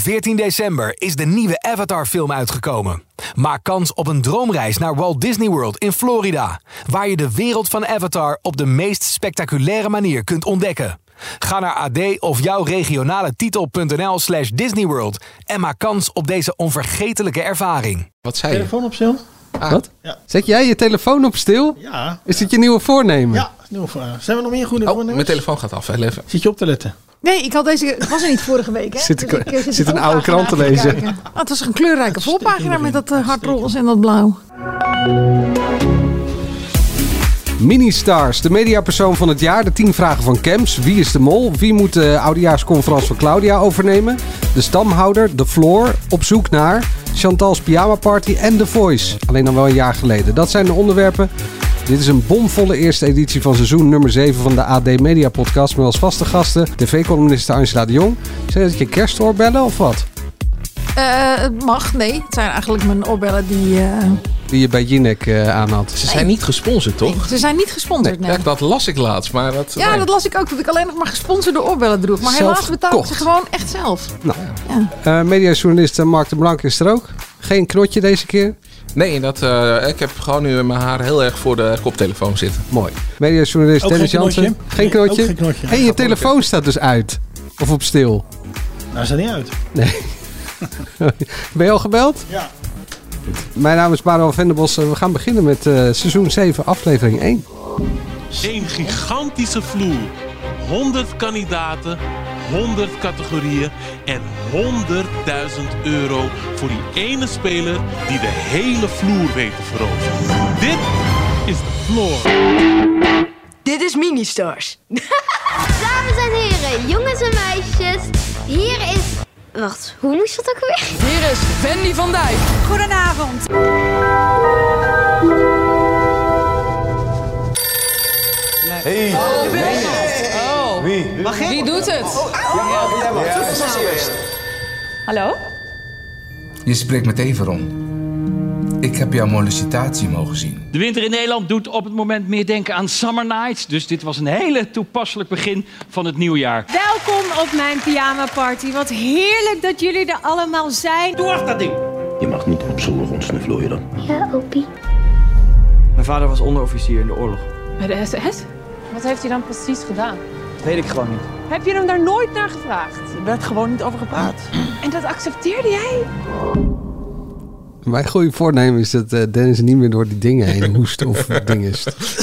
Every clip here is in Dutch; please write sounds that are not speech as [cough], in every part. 14 december is de nieuwe Avatar-film uitgekomen. Maak kans op een droomreis naar Walt Disney World in Florida, waar je de wereld van Avatar op de meest spectaculaire manier kunt ontdekken. Ga naar ad of jouw regionale titel.nl/slash Disneyworld en maak kans op deze onvergetelijke ervaring. wat zei je? Telefoon op stil? Ah. Wat? Ja. Zet jij je telefoon op stil? Ja. Is dit je nieuwe voornemen? Ja, nieuw voor. Zijn we nog meer goede Oh, voornemens? mijn telefoon gaat af. Heel even. Zit je op te letten? Nee, ik had deze. Ik was er niet vorige week. Hè? [laughs] Zit ik- eh, zit de een oude krant te voorpagina lezen. kijken. Ah, het was een kleurrijke Uitstekend voorpagina met begin. dat eh, hardroze en dat blauw. Ministars, de mediapersoon van het jaar. De 10 vragen van Camps. Wie is de mol? Wie moet de oudejaarsconferentie van Claudia overnemen? De stamhouder, de floor. Op zoek naar Chantal's pyjama party en The Voice. Alleen dan wel een jaar geleden. Dat zijn de onderwerpen. Dit is een bomvolle eerste editie van seizoen nummer 7 van de AD Media Podcast. Met als vaste gasten tv-columniste Angela de Jong. Zijn dat je kerstoor bellen of wat? Eh, het mag, nee. Het zijn eigenlijk mijn oorbellen die. eh, Die je bij Jinek eh aan had. Ze zijn niet gesponsord, toch? ze zijn niet gesponsord, nee. Ja, dat las ik laatst, maar dat... Ja, nee. dat las ik ook, dat ik alleen nog maar gesponsorde oorbellen droeg. Maar Zelf helaas betaal ik ze gekocht. gewoon echt zelf. Eh mediajournalist Mark de Blank is er ook. Geen knotje deze keer. Nee, dat, eh, ik heb gewoon nu mijn haar heel erg voor de koptelefoon zitten. Mooi. Mediajournalist Ook Dennis geen Jansen. knotje? Geen Nee, knotje? ook geen knotje. hey, je telefoon staat dus uit. Of op stil. Nou, staat niet uit. Ben je al gebeld? Ja. Mijn naam is Manuel Venderbos. en We gaan beginnen met eh, seizoen 7, aflevering 1. Een gigantische vloer. 100 kandidaten, 100 categorieën en 100.000 euro voor die ene speler die de hele vloer weet te veroveren. Dit is de floor. Dit is Ministars. Dames en heren, jongens en meisjes, hier is. Wacht, hoe moest dat ook weer? Hier is Wendy van Dijk. Goedenavond. Oh. Wie? Wie doet het? Hallo? Je spreekt met Everon. Ik heb jouw mollicitatie mogen zien. De winter in Nederland doet op het moment meer denken aan Summer Nights. Dus dit was een hele toepasselijk begin van het nieuwjaar. Welkom op mijn pyjama party. Wat heerlijk dat jullie er allemaal zijn. Doe af dat ding! Je mag niet op zolder rondsnuffelen, je dan. Ja, Opie. Mijn vader was onderofficier in de oorlog. Bij de SS? Wat heeft hij dan precies gedaan? Dat weet ik gewoon niet. Heb je hem daar nooit naar gevraagd? Er werd gewoon niet over gepraat. En dat accepteerde jij? Mijn goede voornemen is dat eh, Dennis niet meer door die dingen heen hoest [laughs] of dingest. [laughs]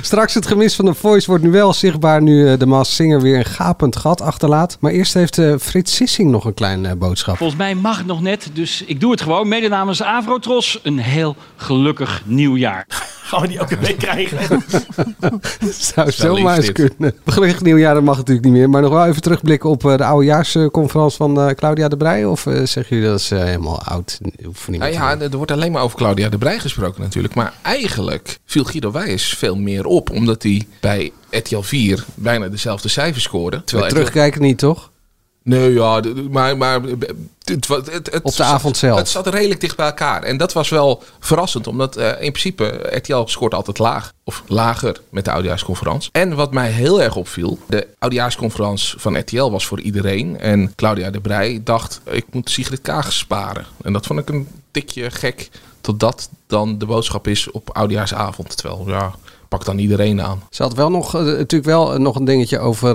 Straks het gemis van de voice wordt nu wel zichtbaar nu eh, de Maas Singer weer een gapend gat achterlaat. Maar eerst heeft eh, Frits Sissing nog een kleine eh, boodschap. Volgens mij mag het nog net, dus ik doe het gewoon. Mede namens Avrotros, een heel gelukkig nieuwjaar. Gaan we die elke week Eh, krijgen? Zou wel zomaar lief eens dit. kunnen. [laughs] Gelukkig nieuwjaar, dat mag natuurlijk niet meer. Maar nog wel even terugblikken op eh, de oudejaarsconferentie van eh, Claudia de Breij. Of eh, zeggen jullie dat ze helemaal oud hoeft niet Nou meer te ja, doen? er wordt alleen maar over Claudia de Breij gesproken natuurlijk. Maar eigenlijk viel Guido Wijs veel meer op. Omdat hij bij RTL 4 bijna dezelfde cijfers scoorde. Maar Terwijl RTL terugkijken niet, toch? Nee, ja, d- d- maar, maar het, wa- het- het Op de zat- avond zelf. Het zat redelijk dicht bij elkaar. En dat was wel verrassend, omdat eh, in principe eh, RTL scoort altijd laag. Of lager met de oudejaarsconferentie. En wat mij heel erg opviel, de oudejaarsconferentie van RTL was voor iedereen. En Claudia de Breij dacht, ik moet Sigrid Kaag sparen. En dat vond ik een tikje gek, totdat dan de boodschap is op oudejaarsavond. Terwijl, ja, pak dan iedereen aan. Ze had wel nog, eh, natuurlijk wel eh, nog een dingetje over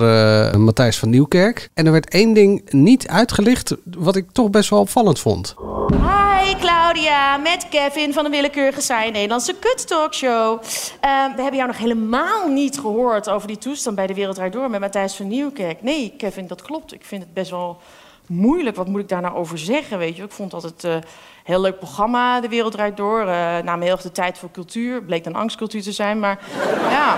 eh, Matthijs van Nieuwkerk. En er werd één ding niet uitgelicht, wat ik toch best wel opvallend vond. Hi Claudia, met Kevin van de Willekeurige Saai Nederlandse Kut Talkshow. Ehm, we hebben jou nog helemaal niet gehoord over die toestand bij de Wereld Draait Door met Matthijs van Nieuwkerk. Nee, Kevin, dat klopt. Ik vind het best wel moeilijk. Wat moet ik daar nou over zeggen? Weet je, ik vond dat het eh, heel leuk programma, De Wereld Draait Door. eh nam heel erg de tijd voor cultuur. Bleek dan angstcultuur te zijn, maar ja,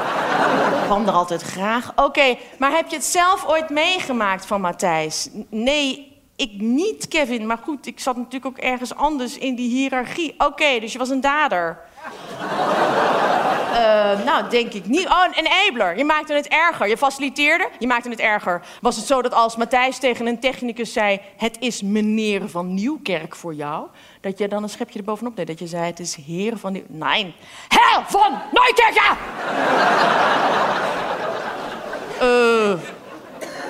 ik kwam er altijd graag. Oké, maar heb je het zelf ooit meegemaakt van Matthijs? N- Nee, ik niet, Kevin. Maar goed, ik zat natuurlijk ook ergens anders in die hiërarchie. Oké, dus je was een dader. [laughs] eh, nou, denk ik niet. Oh, een enabler. Je maakte het erger. Je faciliteerde, je maakte het erger. Was het zo dat als Matthijs tegen een technicus zei... het is meneer van Nieuwkerk voor jou... dat je dan een schepje erbovenop deed? Dat je zei, het is heer van Nieuwkerk. Nee, heer van Nieuwkerk! ja! [laughs] Eh,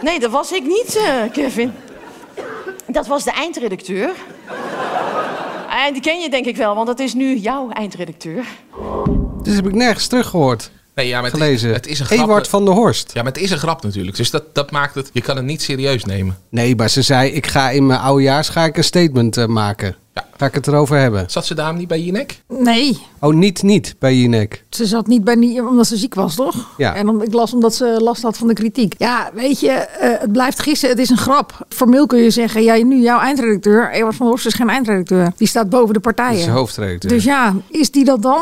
nee, dat was ik niet, eh, Kevin. Dat was de eindredacteur. [laughs] En die ken je denk ik wel, want dat is nu jouw eindredacteur. Dus heb ik nergens teruggehoord. Nee, ja, maar het Gelezen. Is, het is een grap. Ewart van der Horst. Ja, maar het is een grap natuurlijk. Dus dat, dat maakt het... Je kan het niet serieus nemen. Nee, maar ze zei, ik ga in mijn oudejaars ga ik een statement eh, maken. Ja. Ga ik het erover hebben. Zat ze daarom niet bij Jinek? Nee, Oh, niet niet bij Jinek. ze zat niet bij niet omdat ze ziek was, toch? Ja. En om, ik las omdat ze last had van de kritiek. Ja, weet je, eh, het blijft gissen. Het is een grap. Formeel kun je zeggen, ja, nu jouw eindredacteur. Ewart van der Horst is geen eindredacteur. Die staat boven de Dat is partijen. de hoofdredacteur. Dus ja, is die dat dan?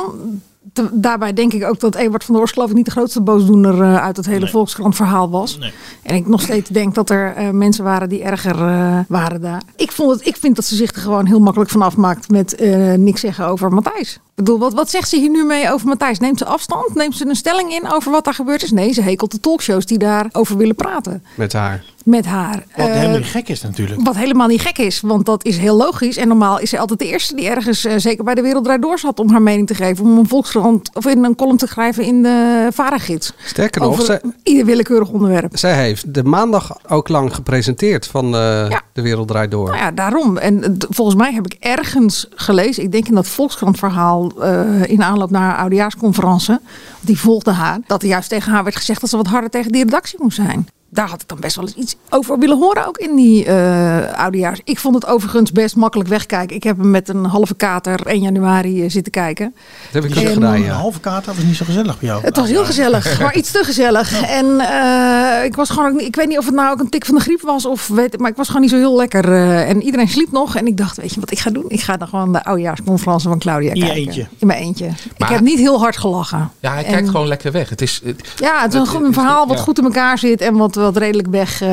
Te- daarbij denk ik ook dat Ewart van der Horst geloof ik niet de grootste boosdoener eh, uit het hele Volkskrant verhaal was. En ik nog steeds denk dat er eh, mensen waren die erger eh, waren daar. Ik, vond het, ik vind dat ze zich er gewoon heel makkelijk van afmaakt met eh, niks zeggen over Matthijs. Ik bedoel, wat, wat zegt ze hier nu mee over Matthijs? Neemt ze afstand? Neemt ze een stelling in over wat daar gebeurd is? Nee, ze hekelt de talkshows die daarover willen praten Met haar. met haar. Wat Eh, helemaal niet gek is natuurlijk. wat helemaal niet gek is, want dat is heel logisch. En normaal is ze altijd de eerste die ergens, eh, zeker bij de Wereld Draait Door zat, om haar mening te geven. Om een volkskrant of in een column te schrijven in de Varagids. Sterker nog, Over zij, ieder willekeurig onderwerp. zij heeft de maandag ook lang gepresenteerd van eh, Ja. De Wereld Draait Door. Nou ja, daarom. En eh, d- volgens mij heb ik ergens gelezen, ik denk in dat Volkskrant-verhaal eh, in aanloop naar haar oudejaarsconferentie, die volgde haar, dat er juist tegen haar werd gezegd dat ze wat harder tegen die redactie moest zijn. Daar had ik dan best wel eens iets over willen horen, ook in die eh oudejaars. Ik vond het overigens best makkelijk wegkijken. Ik heb hem met een halve kater 1 januari eh, zitten kijken. Dat heb ik ook En- gedaan, Een ja. halve kaart was niet zo gezellig bij jou. Het was heel gezellig, maar iets te gezellig. En eh, ik was gewoon, ook niet- ik weet niet of het nou ook een tik van de griep was of weet, maar ik was gewoon niet zo heel lekker. eh, en iedereen sliep nog en ik dacht, weet je wat ik ga doen? Ik ga dan gewoon de oudejaarsconferentie van Claudia In je kijken. eentje. In mijn eentje. Maar- ik heb niet heel hard gelachen. Ja, hij En- kijkt gewoon lekker weg. Het is... het- Ja, het is een, het- goed- het een is- verhaal wat ja. goed in elkaar zit en wat, wat redelijk weg. eh,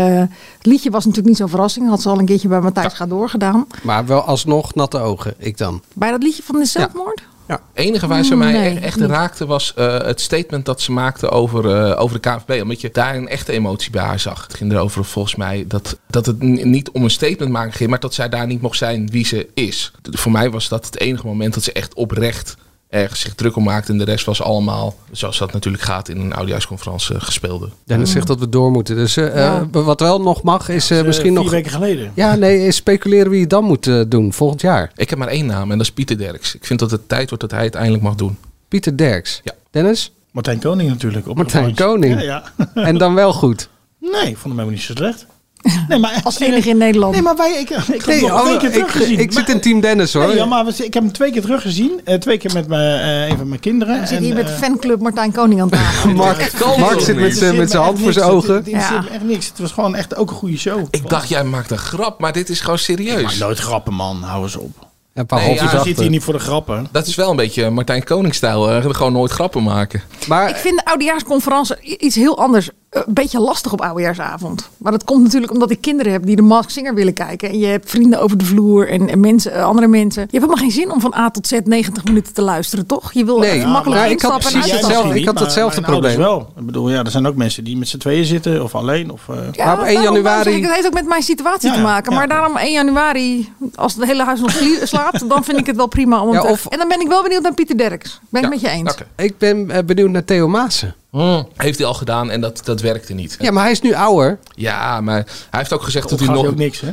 het liedje was natuurlijk niet zo'n verrassing. Had ze al een keertje bij Matthijs Ga Door gedaan. Maar wel alsnog natte ogen, ik dan. Bij dat liedje van de zelfmoord? enige waar ze mij Nee, e- echt niet. raakte was eh, het statement dat ze maakte over, eh, over de KNVB. Omdat je daar een echte emotie bij haar zag. Het ging erover volgens mij dat, dat het n- niet om een statement maken ging, maar dat zij daar niet mocht zijn wie ze is. D- Voor mij was dat het enige moment dat ze echt oprecht ergens zich druk om maakte. En de rest was allemaal, zoals dat natuurlijk gaat, in een oudejaarsconferentie gespeelde. Dennis zegt dat we door moeten. Dus eh, eh, wat wel nog mag is eh, Eh, misschien vier nog... weken geleden. Ja, nee, is speculeren wie het dan moet eh, doen volgend jaar. Ik heb maar één naam en dat is Pieter Derks. Ik vind dat het tijd wordt dat hij het eindelijk mag doen. Pieter Derks. Ja. Dennis? Martijn Koning natuurlijk. Op Martijn het randje. Koning. Ja, ja. [laughs] En dan wel goed. Nee, ik vond hem helemaal niet zo [laughs] slecht. Nee, maar Als enige in Nederland. Nee, maar wij, ik, ik heb hem Nee, nog oh, twee keer ik, teruggezien. ik zit Maar- in team Dennis hoor. Nee, ja, maar we- ik heb hem twee keer teruggezien. Eh, twee keer met mijn, eh, een van mijn kinderen. Ik zit hier En, met de eh, fanclub Martijn Koning aan het praten. Mark, Mark zit met zijn met zijn hand voor zijn ogen. Het Ja. zit echt niks. Het was gewoon echt ook een goede show. Ik dacht, jij maakt een grap, maar dit is gewoon Maar dus. serieus. nooit grappen, man. Hou eens op. Een paar Nee, halve ja, Hij zit dacht dachten. hier niet voor de grappen. Dat is wel een beetje Martijn Koningstijl. eh, gewoon nooit grappen maken. Ik Maar vind de oudejaarsconferentie i- iets heel anders. Eh, Een beetje lastig op oudejaarsavond. Maar dat komt natuurlijk omdat ik kinderen heb die de Mask Singer willen kijken. En je hebt vrienden over de vloer en, en mensen, eh, andere mensen. Je hebt helemaal geen zin om van A tot Z 90 minuten te luisteren, toch? Je wil Nee, echt ja, makkelijk maar ik had instappen en precies uit hetzelfde. Misschien ik had niet, maar datzelfde mijn ouders probleem. wel. Ik bedoel, ja, er zijn ook mensen die met z'n tweeën zitten of alleen. Of, eh, Maar op 1 daarom januari- zeg ik, het heeft ook met mijn situatie Ja, te ja, maken. ja. Maar daarom 1 januari, als het hele huis nog slie- slaapt, dan vind ik het wel prima. Om Ja, te- of- En dan ben ik wel benieuwd naar Pieter Derks. Ben ik Ja, met je eens. oké. ik ben eh, benieuwd naar Theo Maassen. Hmm, Heeft hij al gedaan en dat, dat werkte niet. Ja. Ja, maar hij is nu ouder. [laughs] maar hij heeft ook gezegd dat hij gaat nog. ook niks, hè?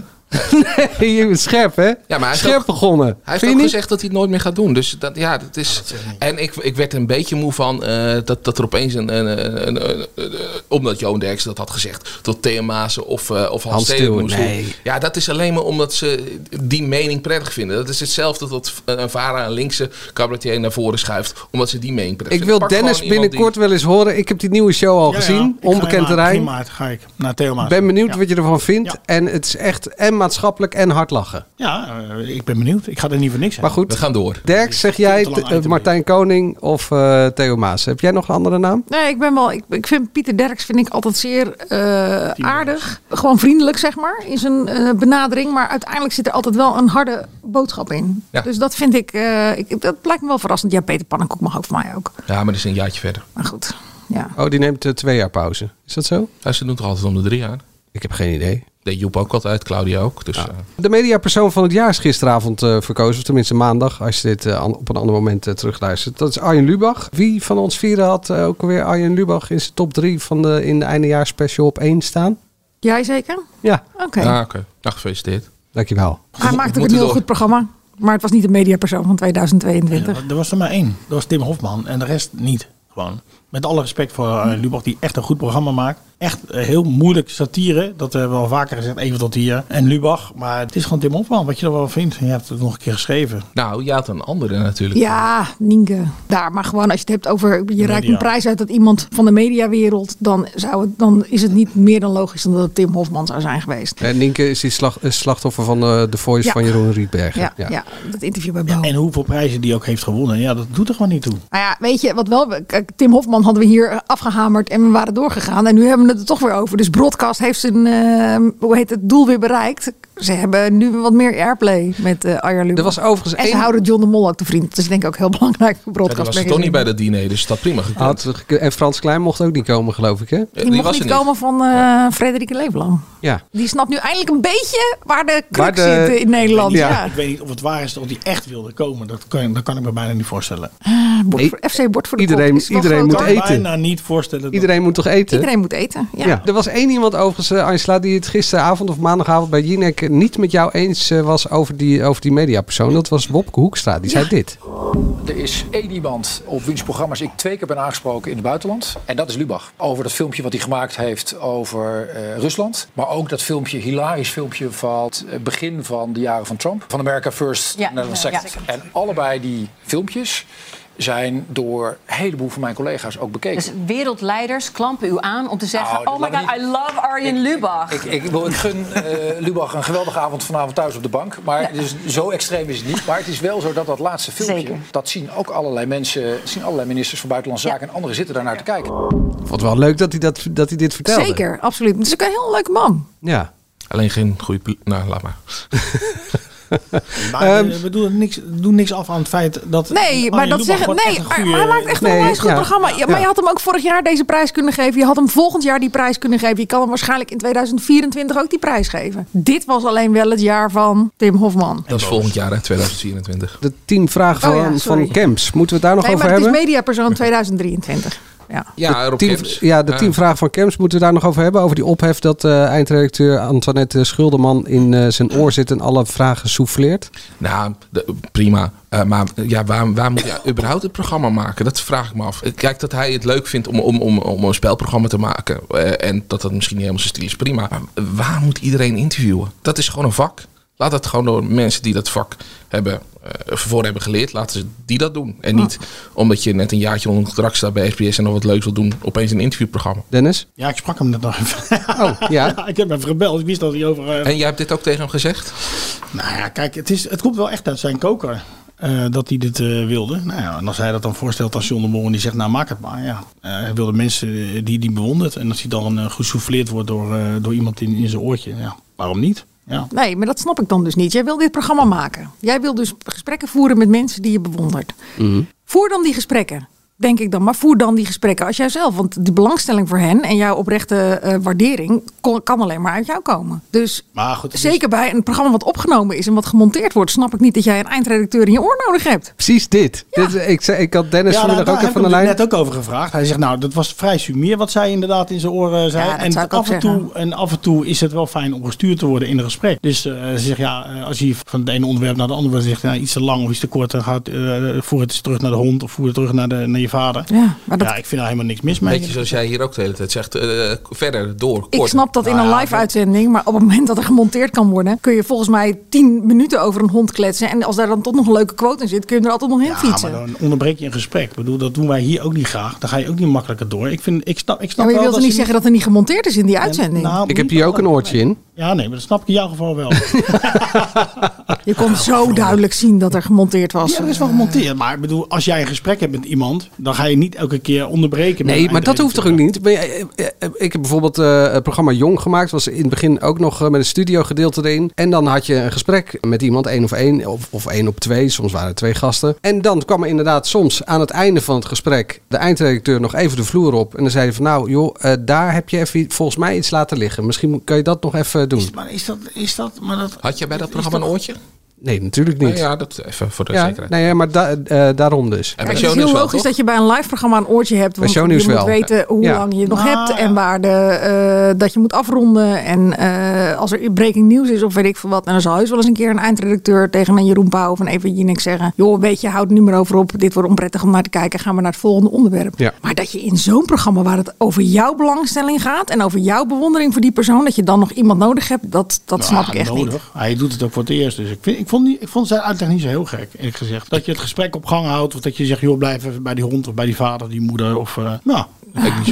Je bent scherp, hè? maar hij is scherp ook- begonnen. Hij heeft Vind ook je niet? gezegd dat hij het nooit meer gaat doen. Dus dat, ja, dat is. en ik, ik werd er een beetje moe van eh, dat, dat er opeens een. een, een- een- een- een- eh, omdat Joon Derksen dat had gezegd. Tot Thea Maassen of, eh, of Hans, Hans Steeuwen Steeuwen, moest nee. doen. Ja, dat is alleen maar omdat ze die mening prettig vinden. Dat is hetzelfde dat een Vara een linkse cabaretier naar voren schuift. Omdat ze die mening prettig Ik vinden. wil Pak gewoon Dennis iemand die- binnenkort wel eens horen. Ik heb die nieuwe show al Ja, ja. gezien. Ik ga Onbekend in maart, terrein. in maart ga ik naar Theo Maas. ben benieuwd Ja. wat je ervan vindt. Ja. En het is echt en maatschappelijk en hard lachen. Ja, eh, ik ben benieuwd. Ik ga er niet voor niks Maar goed. We gaan door. Dirk, zeg jij te lang eh, uit te Martijn Koning of eh, Theo Maas? Heb jij nog een andere naam? Nee, ik ben wel. Ik, ik vind Pieter Derks vind ik altijd zeer eh, aardig. Gewoon vriendelijk, zeg maar, in zijn eh, benadering. Maar uiteindelijk zit er altijd wel een harde boodschap in. Ja. Dus dat vind ik, eh, ik. Dat lijkt me wel verrassend. Ja, Peter Pannenkoek mag ook van mij ook. Ja, maar dat is een jaartje verder. Maar goed, ja. Oh, die neemt eh, twee jaar pauze. Is dat zo? Hij ze doen toch altijd om de drie jaar? Ik heb geen idee. Deed Joep ook altijd, Claudia ook. Dus eh, De mediapersoon van het jaar is gisteravond eh, verkozen. Of tenminste maandag, als je dit eh, an- op een ander moment eh, terugluistert. Dat is Arjen Lubach. Wie van ons vieren had eh, ook weer Arjen Lubach in zijn top drie van de, in de eindejaarsspecial op één staan? Jij zeker? Ja, Oké. ja, oké. Nou, gefeliciteerd. dankjewel. Hij maakt ook moeten een heel door. goed programma. Maar het was niet de mediapersoon van 2022. Er was er maar één. Dat was Tim Hofman. En de rest niet. Gewoon. Met alle respect voor eh, Hm. Lubach, die echt een goed programma maakt. Echt eh, heel moeilijk satire. Dat hebben we al vaker gezegd, even tot hier. En Lubach. Maar het is gewoon Tim Hofman, wat je er wel van vindt. Je hebt het nog een keer geschreven. Nou, je had een andere natuurlijk. Ja, Nienke. Daar, maar gewoon als je het hebt over. Je reikt een prijs uit dat iemand van de mediawereld. Dan, zou het, dan is het niet meer dan logisch dan dat het Tim Hofman zou zijn geweest. En Nienke is die slag- eh, slachtoffer van eh, de voice Ja. van Jeroen Rietbergen. Ja, ja. dat interview bij Bo. En hoeveel prijzen die ook heeft gewonnen. Ja, dat doet er gewoon niet toe. Nou ja, weet je wat wel? Kijk, Tim Hofman hadden we hier afgehamerd en we waren doorgegaan. En nu hebben we het er toch weer over. Dus Broadcast heeft zijn eh, hoe heet het, doel weer bereikt. Ze hebben nu wat meer airplay met eh Arjen Lubach. Er was overigens En ze één- houden John de Mol ook te vriend. Dat is denk ik ook heel [laughs] belangrijk voor Ja, dan Broadcast. was ze toch niet bij dat diner, dus dat prima gekund. Had, gek- en Frans Klein mocht ook niet komen, geloof ik, hè? Eh, Die, mocht er niet komen van eh Frederike Leefland. Ja. Die snapt nu eindelijk een beetje waar de Waar crux de- zit eh, in Nederland. Ja. Ja. Ik weet niet of het waar is dat die echt wilde komen. Dat kan, dat kan ik me bijna niet voorstellen. Bord voor- FC Bord voor de Iedereen- Kop is wel iedereen groot, moet hoor. Ik eten. kan me bijna niet voorstellen. dat- Iedereen moet toch eten? Iedereen moet eten. Ja. Ja. Er was één iemand overigens, eh, Angela, die het gisteravond of maandagavond bij Jinek niet met jou eens eh, was over die, over die mediapersoon. Dat was Wopke Hoekstra. Die zei dit. Er is één iemand op wiens programma's ik twee keer ben aangesproken in het buitenland. En dat is Lubach. Over dat filmpje wat hij gemaakt heeft over eh, Rusland. Maar ook dat filmpje, hilarisch filmpje van het eh, begin van de jaren van Trump. Van America First, Ja, Nederland ja, Second. En allebei die filmpjes zijn door een heleboel van mijn collega's ook bekeken. Dus wereldleiders klampen u aan om te zeggen... Nou, dat oh my laat god, I love Arjen Lubach. Ik, ik, wil- ik gun eh, Lubach een geweldige avond vanavond thuis op de bank. Maar het is- zo extreem is het niet. Maar het is wel zo dat dat laatste filmpje... Zeker. dat zien ook allerlei mensen, zien allerlei ministers van Buitenlandse Zaken... en anderen zitten daarnaar te kijken. Ik vond het wel leuk dat hij, dat, dat hij dit vertelde. Zeker, absoluut. Het is ook een heel leuke man. Ja. Alleen geen goede... poli- Nou, laat maar. Maar eh, we doen niks, doen niks af aan het feit dat. Ehm. Nee, maar Arjen dat Lubach zeggen. gewoon echt Nee, een hij- goeie- hij maakt echt wel Nee, een wijs goed ja. programma. Ja, maar Ja. je had hem ook vorig jaar deze prijs kunnen geven. Je had hem volgend jaar die prijs kunnen geven. Je kan hem waarschijnlijk in 2024 ook die prijs geven. Dit was alleen wel het jaar van Tim Hofman. Dat is volgend jaar, hè, 2024. De tien vragen van, Oh ja, sorry. van Camps. Moeten we het daar nog Nee, over maar het is hebben? mediapersoon 2023. Ja. Ja, Rob Tien- Kemps. ja, de Ja. tien vragen van Camps moeten we daar nog over hebben. Over die ophef dat eh, eindredacteur Antoinette Schulderman in eh, zijn oor zit en alle vragen souffleert. Nou, de- prima. Eh, maar ja, waar, waar moet [coughs] je überhaupt het programma maken? Dat vraag ik me af. Kijk, dat hij het leuk vindt om, om, om, om een spelprogramma te maken. eh, en dat dat misschien niet helemaal zijn stil is, prima. Maar waar moet iedereen interviewen? Dat is gewoon een vak. Laat dat gewoon door mensen die dat vak hebben, eh voor hebben geleerd. Laten ze die dat doen. En niet omdat je net een jaartje onder contract staat bij SBS en nog wat leuks wil doen. Opeens een interviewprogramma. Dennis? Ja, ik sprak hem net nog even. Oh, ja. [laughs] ik heb hem even gebeld. Ik wist dat hij over. eh, En jij hebt dit ook tegen hem gezegd? Nou ja, kijk, het, is, het komt wel echt uit zijn koker. eh, dat hij dit eh, wilde. Nou ja, en als hij dat dan voorstelt als John de Mol en die zegt, nou maak het maar. Ja. Eh, hij wilde mensen eh, die die bewondert. En als hij dan eh, gesouffleerd wordt door, eh, door iemand in, in zijn oortje. Ja, waarom niet? Ja. Nee, maar dat snap ik dan dus niet. Jij wil dit programma maken. Jij wil dus gesprekken voeren met mensen die je bewondert. Mhm. Voer dan die gesprekken. Denk ik dan, maar voer dan die gesprekken als jijzelf. Want die belangstelling voor hen en jouw oprechte eh, waardering kon- kan alleen maar uit jou komen. Dus Maar goed, het is- zeker bij een programma wat opgenomen is en wat gemonteerd wordt, snap ik niet dat jij een eindredacteur in je oor nodig hebt. Precies dit. dit eh, ik, zei- ik had Dennis Ja, nou, vanmiddag daar ook heb even ik van de hem lijn. net ook over gevraagd. Hij zegt, nou, dat was vrij sumier wat zij inderdaad in zijn oren zei. Ja, dat en, zou ik ook af en toe, en af en toe is het wel fijn om gestuurd te worden in een gesprek. Dus eh, ze zegt, ja, eh, als je van het ene onderwerp naar het andere zegt, nou, iets te lang of iets te kort, dan gaat, eh, voer het eens terug naar de hond of voer het terug naar, de, naar je vader. Ja, maar dat, Ja, ik vind daar helemaal niks mis mee. Beetje zoals jij hier ook de hele tijd zegt. eh, verder, door, kort. Ik snap dat in Nou een ja, live uitzending, maar op het moment dat er gemonteerd kan worden, kun je volgens mij tien minuten over een hond kletsen. En als daar dan toch nog een leuke quote in zit, kun je er altijd nog heen Ja, fietsen. maar dan onderbreek je een gesprek. Ik bedoel, dat doen wij hier ook niet graag. Dan ga je ook niet makkelijker door. Ik, vind, ik snap, ik Ja, snap maar je wel wilt dat er niet ze zeggen dat er niet gemonteerd is in die uitzending? Nou, Ik heb niet hier ook een altijd. oortje in. Ja, nee, maar dat snap ik in jouw geval wel. Je kon zo duidelijk zien dat er gemonteerd was. Ja, dat is wel gemonteerd. Maar ik bedoel, als jij een gesprek hebt met iemand, dan ga je niet elke keer onderbreken. met Nee, een maar dat hoeft toch ook eindredacteur. niet? Ben jij- eh, eh, Ik heb bijvoorbeeld eh, het programma Jong gemaakt. was in het begin ook nog eh, met een studiogedeelte erin. En dan had je een gesprek met iemand, één of één, of, of één op twee. Soms waren het twee gasten. En dan kwam er inderdaad soms aan het einde van het gesprek de eindredacteur nog even de vloer op. En dan zei hij van nou joh, eh, daar heb je even volgens mij iets laten liggen. Misschien moet- kan je dat nog even doen. Maar is dat, is dat, maar dat... Had jij bij dat programma een oortje? Nee, natuurlijk Nou niet. ja, dat even voor de Ja, zekerheid. nee, maar da- eh, daarom dus. En Kijk, het is heel logisch dat je bij een live programma een oortje hebt. Bij Want je shownieuws moet wel. weten hoe Ja. lang je nog Nou, hebt en waar de, eh, dat je moet afronden. En eh, als er breaking nieuws is of weet ik veel wat. En dan zal heus wel eens een keer een eindredacteur tegen een Jeroen Pauw of een Eva Jinek zeggen. Joh, weet je, houd het nu maar over op. Dit wordt onprettig om naar te kijken. Gaan we naar het volgende onderwerp. Ja. Maar dat je in zo'n programma waar het over jouw belangstelling gaat. En over jouw bewondering voor die persoon. Dat je dan nog iemand nodig hebt. Dat, dat Nou, snap ik echt niet. Hij doet het ook voor het eerst. Dus ik, vind, ik, vond, die, ik vond zijn uitleg niet zo heel gek, eerlijk gezegd. Dat je het gesprek op gang houdt. Of dat je zegt, joh, blijf even bij die hond of bij die vader, die moeder. Of, eh, nou,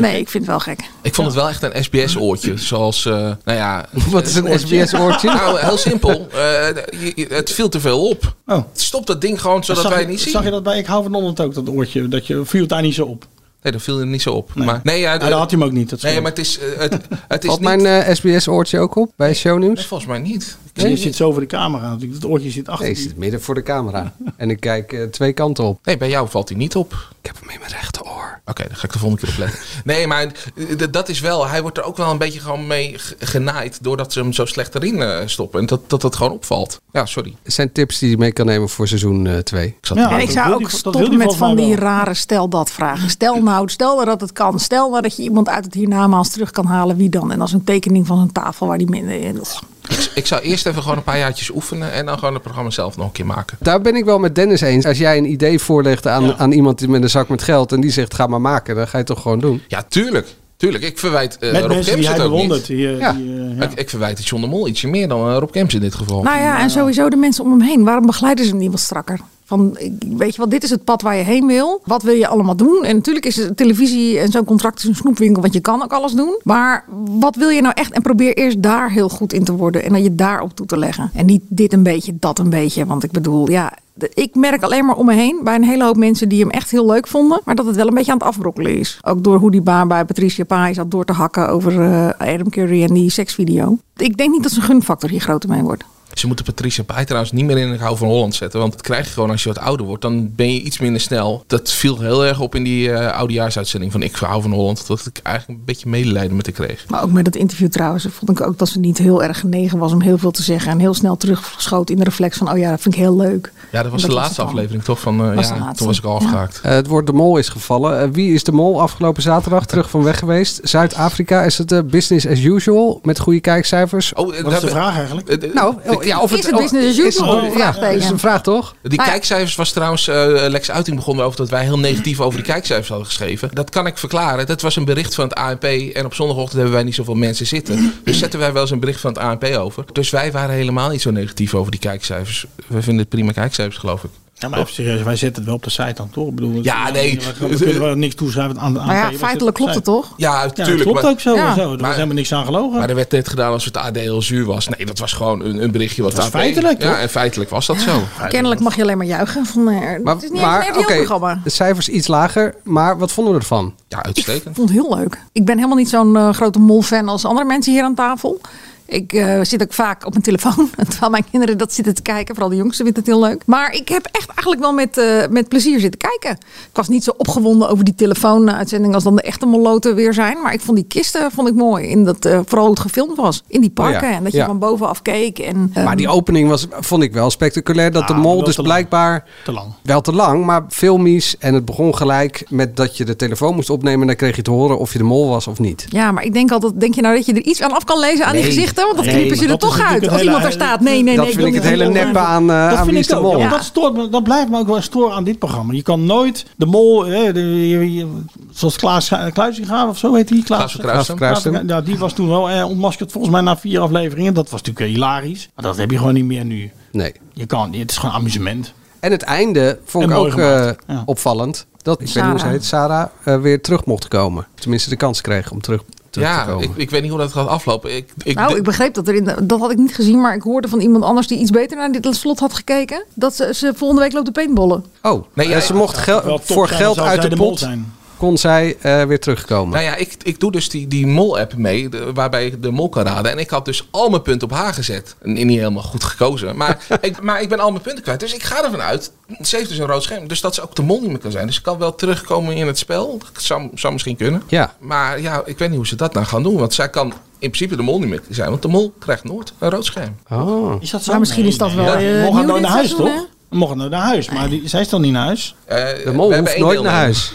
Nee, ik vind het wel gek. Ik vond het wel echt een [laughs] SBS-oortje. Zoals, eh, nou ja... Wat is een SBS-oortje? [laughs] Nou, heel simpel. Eh, je- je- het viel te veel op. Oh. Stop dat ding gewoon, zodat zag wij je- het niet zien. Zag je dat bij Ik hou van Holland ook, dat oortje? Dat je viel het daar niet zo op. Nee, dat viel er niet zo op. Maar, nee, ja, Nou, dat had hij hem ook niet. Dat nee, maar het is, eh, het, [laughs] het is Valt niet... mijn eh, SBS-oortje ook op bij Nee, shownieuws? volgens mij niet. je zit zo voor de camera natuurlijk. Dat oortje zit achter. Nee, ik zit midden voor de camera. En ik kijk eh, twee kanten op. Nee, bij jou valt hij niet op. Oké, Ik heb hem in mijn rechteroor. dan ga ik de volgende keer op [laughs] letten. Nee, maar eh, d- dat is wel... Hij wordt er ook wel een beetje gewoon mee g- genaaid... doordat ze hem zo slecht erin eh, stoppen. En dat, dat dat gewoon opvalt. Ja, sorry. Het zijn tips die je mee kan nemen voor seizoen eh, 2. Ik zat Ja. En dat ik zou wil ook die- dat wil stoppen die met volgens van mij die wel. rare stel dat vragen. Stel nou, stel nou dat het kan. Stel nou dat je iemand uit het hiernamaals terug kan halen. Wie dan? En als een tekening van een tafel waar die minder in. Ik, ik zou eerst even gewoon een paar jaartjes oefenen... en dan gewoon het programma zelf nog een keer maken. Daar ben ik wel met Dennis eens. Als jij een idee voorlegt aan, Ja. aan iemand die met een zak met geld en die zegt ga maar maken, dan ga je het toch gewoon doen. Ja, tuurlijk. Tuurlijk. Ik verwijt eh Met Rob mensen Kemps die hij het ook bewondert. niet. Die, eh, Ja. die, eh, ja. Ik, ik verwijt het John de Mol ietsje meer dan eh, Rob Kemps in dit geval. Nou ja, en sowieso de mensen om hem heen. Waarom begeleiden ze hem niet wat strakker? Van, ik- weet je wat, dit is het pad waar je heen wil. Wat wil je allemaal doen? En natuurlijk is het televisie en zo'n contract is een snoepwinkel, want je kan ook alles doen. Maar wat wil je nou echt? En probeer eerst daar heel goed in te worden en dat je daarop toe te leggen. En niet dit een beetje, dat een beetje. Want ik bedoel, ja, de- ik merk alleen maar om me heen bij een hele hoop mensen die hem echt heel leuk vonden. Maar dat het wel een beetje aan het afbrokkelen is. Ook door hoe die baan bij Patricia Pai zat door te hakken over eh, Adam Curry en die seksvideo. Ik denk niet dat zijn gunfactor hier groter mee wordt. Ze moeten Patricia Pai trouwens niet meer in de Hou van Holland zetten. Want dat krijg je gewoon als je wat ouder wordt. Dan ben je iets minder snel. Dat viel heel erg op in die eh oudejaarsuitzending van Ik Hou van Holland. Dat ik eigenlijk een beetje medelijden met haar kreeg. Maar ook met dat interview trouwens, vond ik ook dat ze niet heel erg genegen was om heel veel te zeggen. En heel snel teruggeschoten in de reflex van, oh ja, dat vind ik heel leuk. Ja, dat was Dat de was laatste het dan. aflevering toch? Van, eh, Was de ja, laatste. toen was ik al Ja. afgehaakt. Eh, het woord De Mol is gevallen. Eh, wie is De Mol afgelopen zaterdag terug van weg geweest? Zuid-Afrika is het eh, business as usual met goede kijkcijfers. Oh, eh, Wat is de daar- vraag eigenlijk? eh, eh, Nou, ik- ja, of Is het business as is het- usual? Oh, ja, dat Vraagteken. is een vraag toch? Die Nou ja. kijkcijfers was trouwens, eh, Lex Uiting begon erover dat wij heel negatief over die kijkcijfers hadden geschreven. Dat kan ik verklaren. Dat was een bericht van het ANP en op zondagochtend hebben wij niet zoveel mensen zitten. Dus zetten wij wel eens een bericht van het ANP over. Dus wij waren helemaal niet zo negatief over die kijkcijfers. We vinden het prima kijkcijfers, geloof ik. Ja, maar even serieus, wij zetten het wel op de site dan, toch? Ik bedoel, Ja, het- nee. We kunnen- we kunnen wel niks toeschrijven aan de Maar Nou ja, feitelijk klopt het toch? Ja, Ja, tuurlijk. klopt maar, ook zo. Ja. en zo. Er was Maar- helemaal niks aan gelogen. maar er werd net gedaan alsof het AD heel zuur was. Nee, dat was gewoon een, een berichtje wat Dat was ANP feitelijk, Ja, toch? en feitelijk was dat zo. Kennelijk mag je alleen maar juichen. Van, eh, het is niet maar, eens een oké, programma. de cijfers iets lager, maar wat vonden we ervan? Ja, Ik uitstekend. vond het heel leuk. Ik ben helemaal niet zo'n eh, grote mol-fan als andere mensen hier aan tafel. Ik eh, zit ook vaak op mijn telefoon. [laughs] Terwijl mijn kinderen dat zitten te kijken. Vooral de jongste vindt het heel leuk. Maar ik heb echt eigenlijk wel met, eh, met plezier zitten kijken. Ik was niet zo opgewonden over die telefoonuitzending als dan de echte molloten weer zijn. Maar ik vond die kisten vond ik mooi. In dat, eh, vooral hoe het gefilmd was. In Oh die parken. En dat je ja. van bovenaf keek. En, eh, Maar die opening was, vond ik wel spectaculair. Dat Ah, de wel mol dus te lang. blijkbaar Te lang. wel te lang, maar filmisch. En het begon gelijk met dat je de telefoon moest opnemen. En dan kreeg je te horen of je de mol was of niet. Ja, maar ik denk altijd, denk je nou dat je er iets aan af kan lezen aan Nee. die gezichten? Want dat Nee, knippen ze maar er dat is toch natuurlijk het uit. Als hele- iemand er staat, nee, nee, dat nee. vind ik wil het hele niet. neppe aan, eh, dat aan Wie is vind ik de ook. Mol. ja, want dat, stoort me, dat blijft me ook wel storen aan dit programma. Je kan nooit de mol, hè, de, je- je- zoals Klaas eh, Kluizinga of zo heet hij. Klaas van Kruijsen. Kruijsen. Ja, die was toen wel eh, ontmaskerd volgens mij na vier afleveringen. Dat was natuurlijk eh, hilarisch. Maar dat heb je gewoon niet meer nu. Nee. Je kan, het is gewoon amusement. En het einde vond En ik mooi ook gemaakt. eh, Ja. opvallend. Dat, ik weet niet hoe ze Sarah. heet, Sarah eh, weer terug mocht komen. Tenminste de kans kreeg om terug, terug ja, te komen. Ik, ik weet niet hoe dat gaat aflopen. Ik, ik, nou, ik begreep dat er in de- dat had ik niet gezien, maar ik hoorde van iemand anders die iets beter naar dit slot had gekeken. Dat ze, ze volgende week loopt de paintballen. Oh, nee, ja, ze mocht gel- Wel top voor zijn, geld zou uit zij de de mol pot zijn. kon zij eh, weer terugkomen. Nou ja, ik, ik doe dus die, die mol-app mee, de- waarbij ik de mol kan raden. En ik had dus al mijn punten op haar gezet. En Niet helemaal goed gekozen, maar [laughs] ik, maar ik ben al mijn punten kwijt. Dus ik ga ervan uit, ze heeft dus een rood scherm. Dus dat ze ook de mol niet meer kan zijn. Dus ze kan wel terugkomen in het spel. Dat zou, zou misschien kunnen. Ja. Maar ja, ik weet niet hoe ze dat nou gaan doen. Want zij kan in principe de mol niet meer zijn. Want de mol krijgt nooit een rood scherm. Oh. Is dat zo? Maar misschien is dat wel, eh, mocht nieuw nou dit naar huis, seizoen, toch? Mocht nou naar huis, maar die, zij is dan niet naar huis. de mol hoeft nooit naar huis.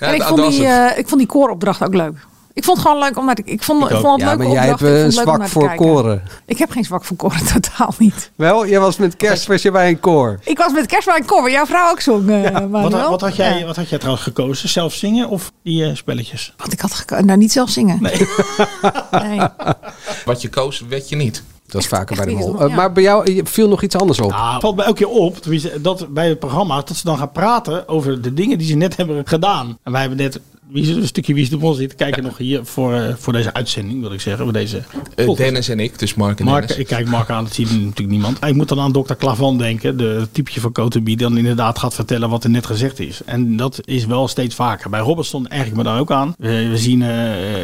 en ik vond, die, eh ik vond die kooropdracht ook leuk. Ik vond het gewoon leuk om naar te Ik vond, ik ook. vond het Ja, leuke maar jij hebt, opdracht, ik vond eh, het leuk om zwak naar te voor kijken. koren. Ik heb geen zwak voor koren, [laughs] totaal niet. Wel, jij was met kerst was je bij een koor. Ik was met kerst bij een koor, waar jouw vrouw ook zong. eh, Wat, Manuel. wat, had jij, Ja. wat had jij trouwens gekozen? Zelf zingen of die eh, spelletjes? Want ik had geko- nou niet zelf zingen. nee. Wat je koos, weet je niet. Dat is vaker bij de echt mol. iets doen, Eh, ja. Maar bij jou eh, viel nog iets anders op. Ah, valt mij ook keer op tenminste, dat bij het programma dat ze dan gaan praten over de dingen die ze net hebben gedaan. En wij hebben net wie is, het, een stukje Wie is de Mol zitten kijken nog hier voor, eh, voor deze uitzending, wil ik zeggen. Voor deze Eh, Dennis en ik, dus Mark en Mark, Dennis. ik kijk Mark aan, dat ziet natuurlijk niemand. Ik moet dan aan dokter Clavan denken, de typje van Cote die dan inderdaad gaat vertellen wat er net gezegd is. En dat is wel steeds vaker. Bij Robert stond eigenlijk me daar ook aan. We, we zien eh,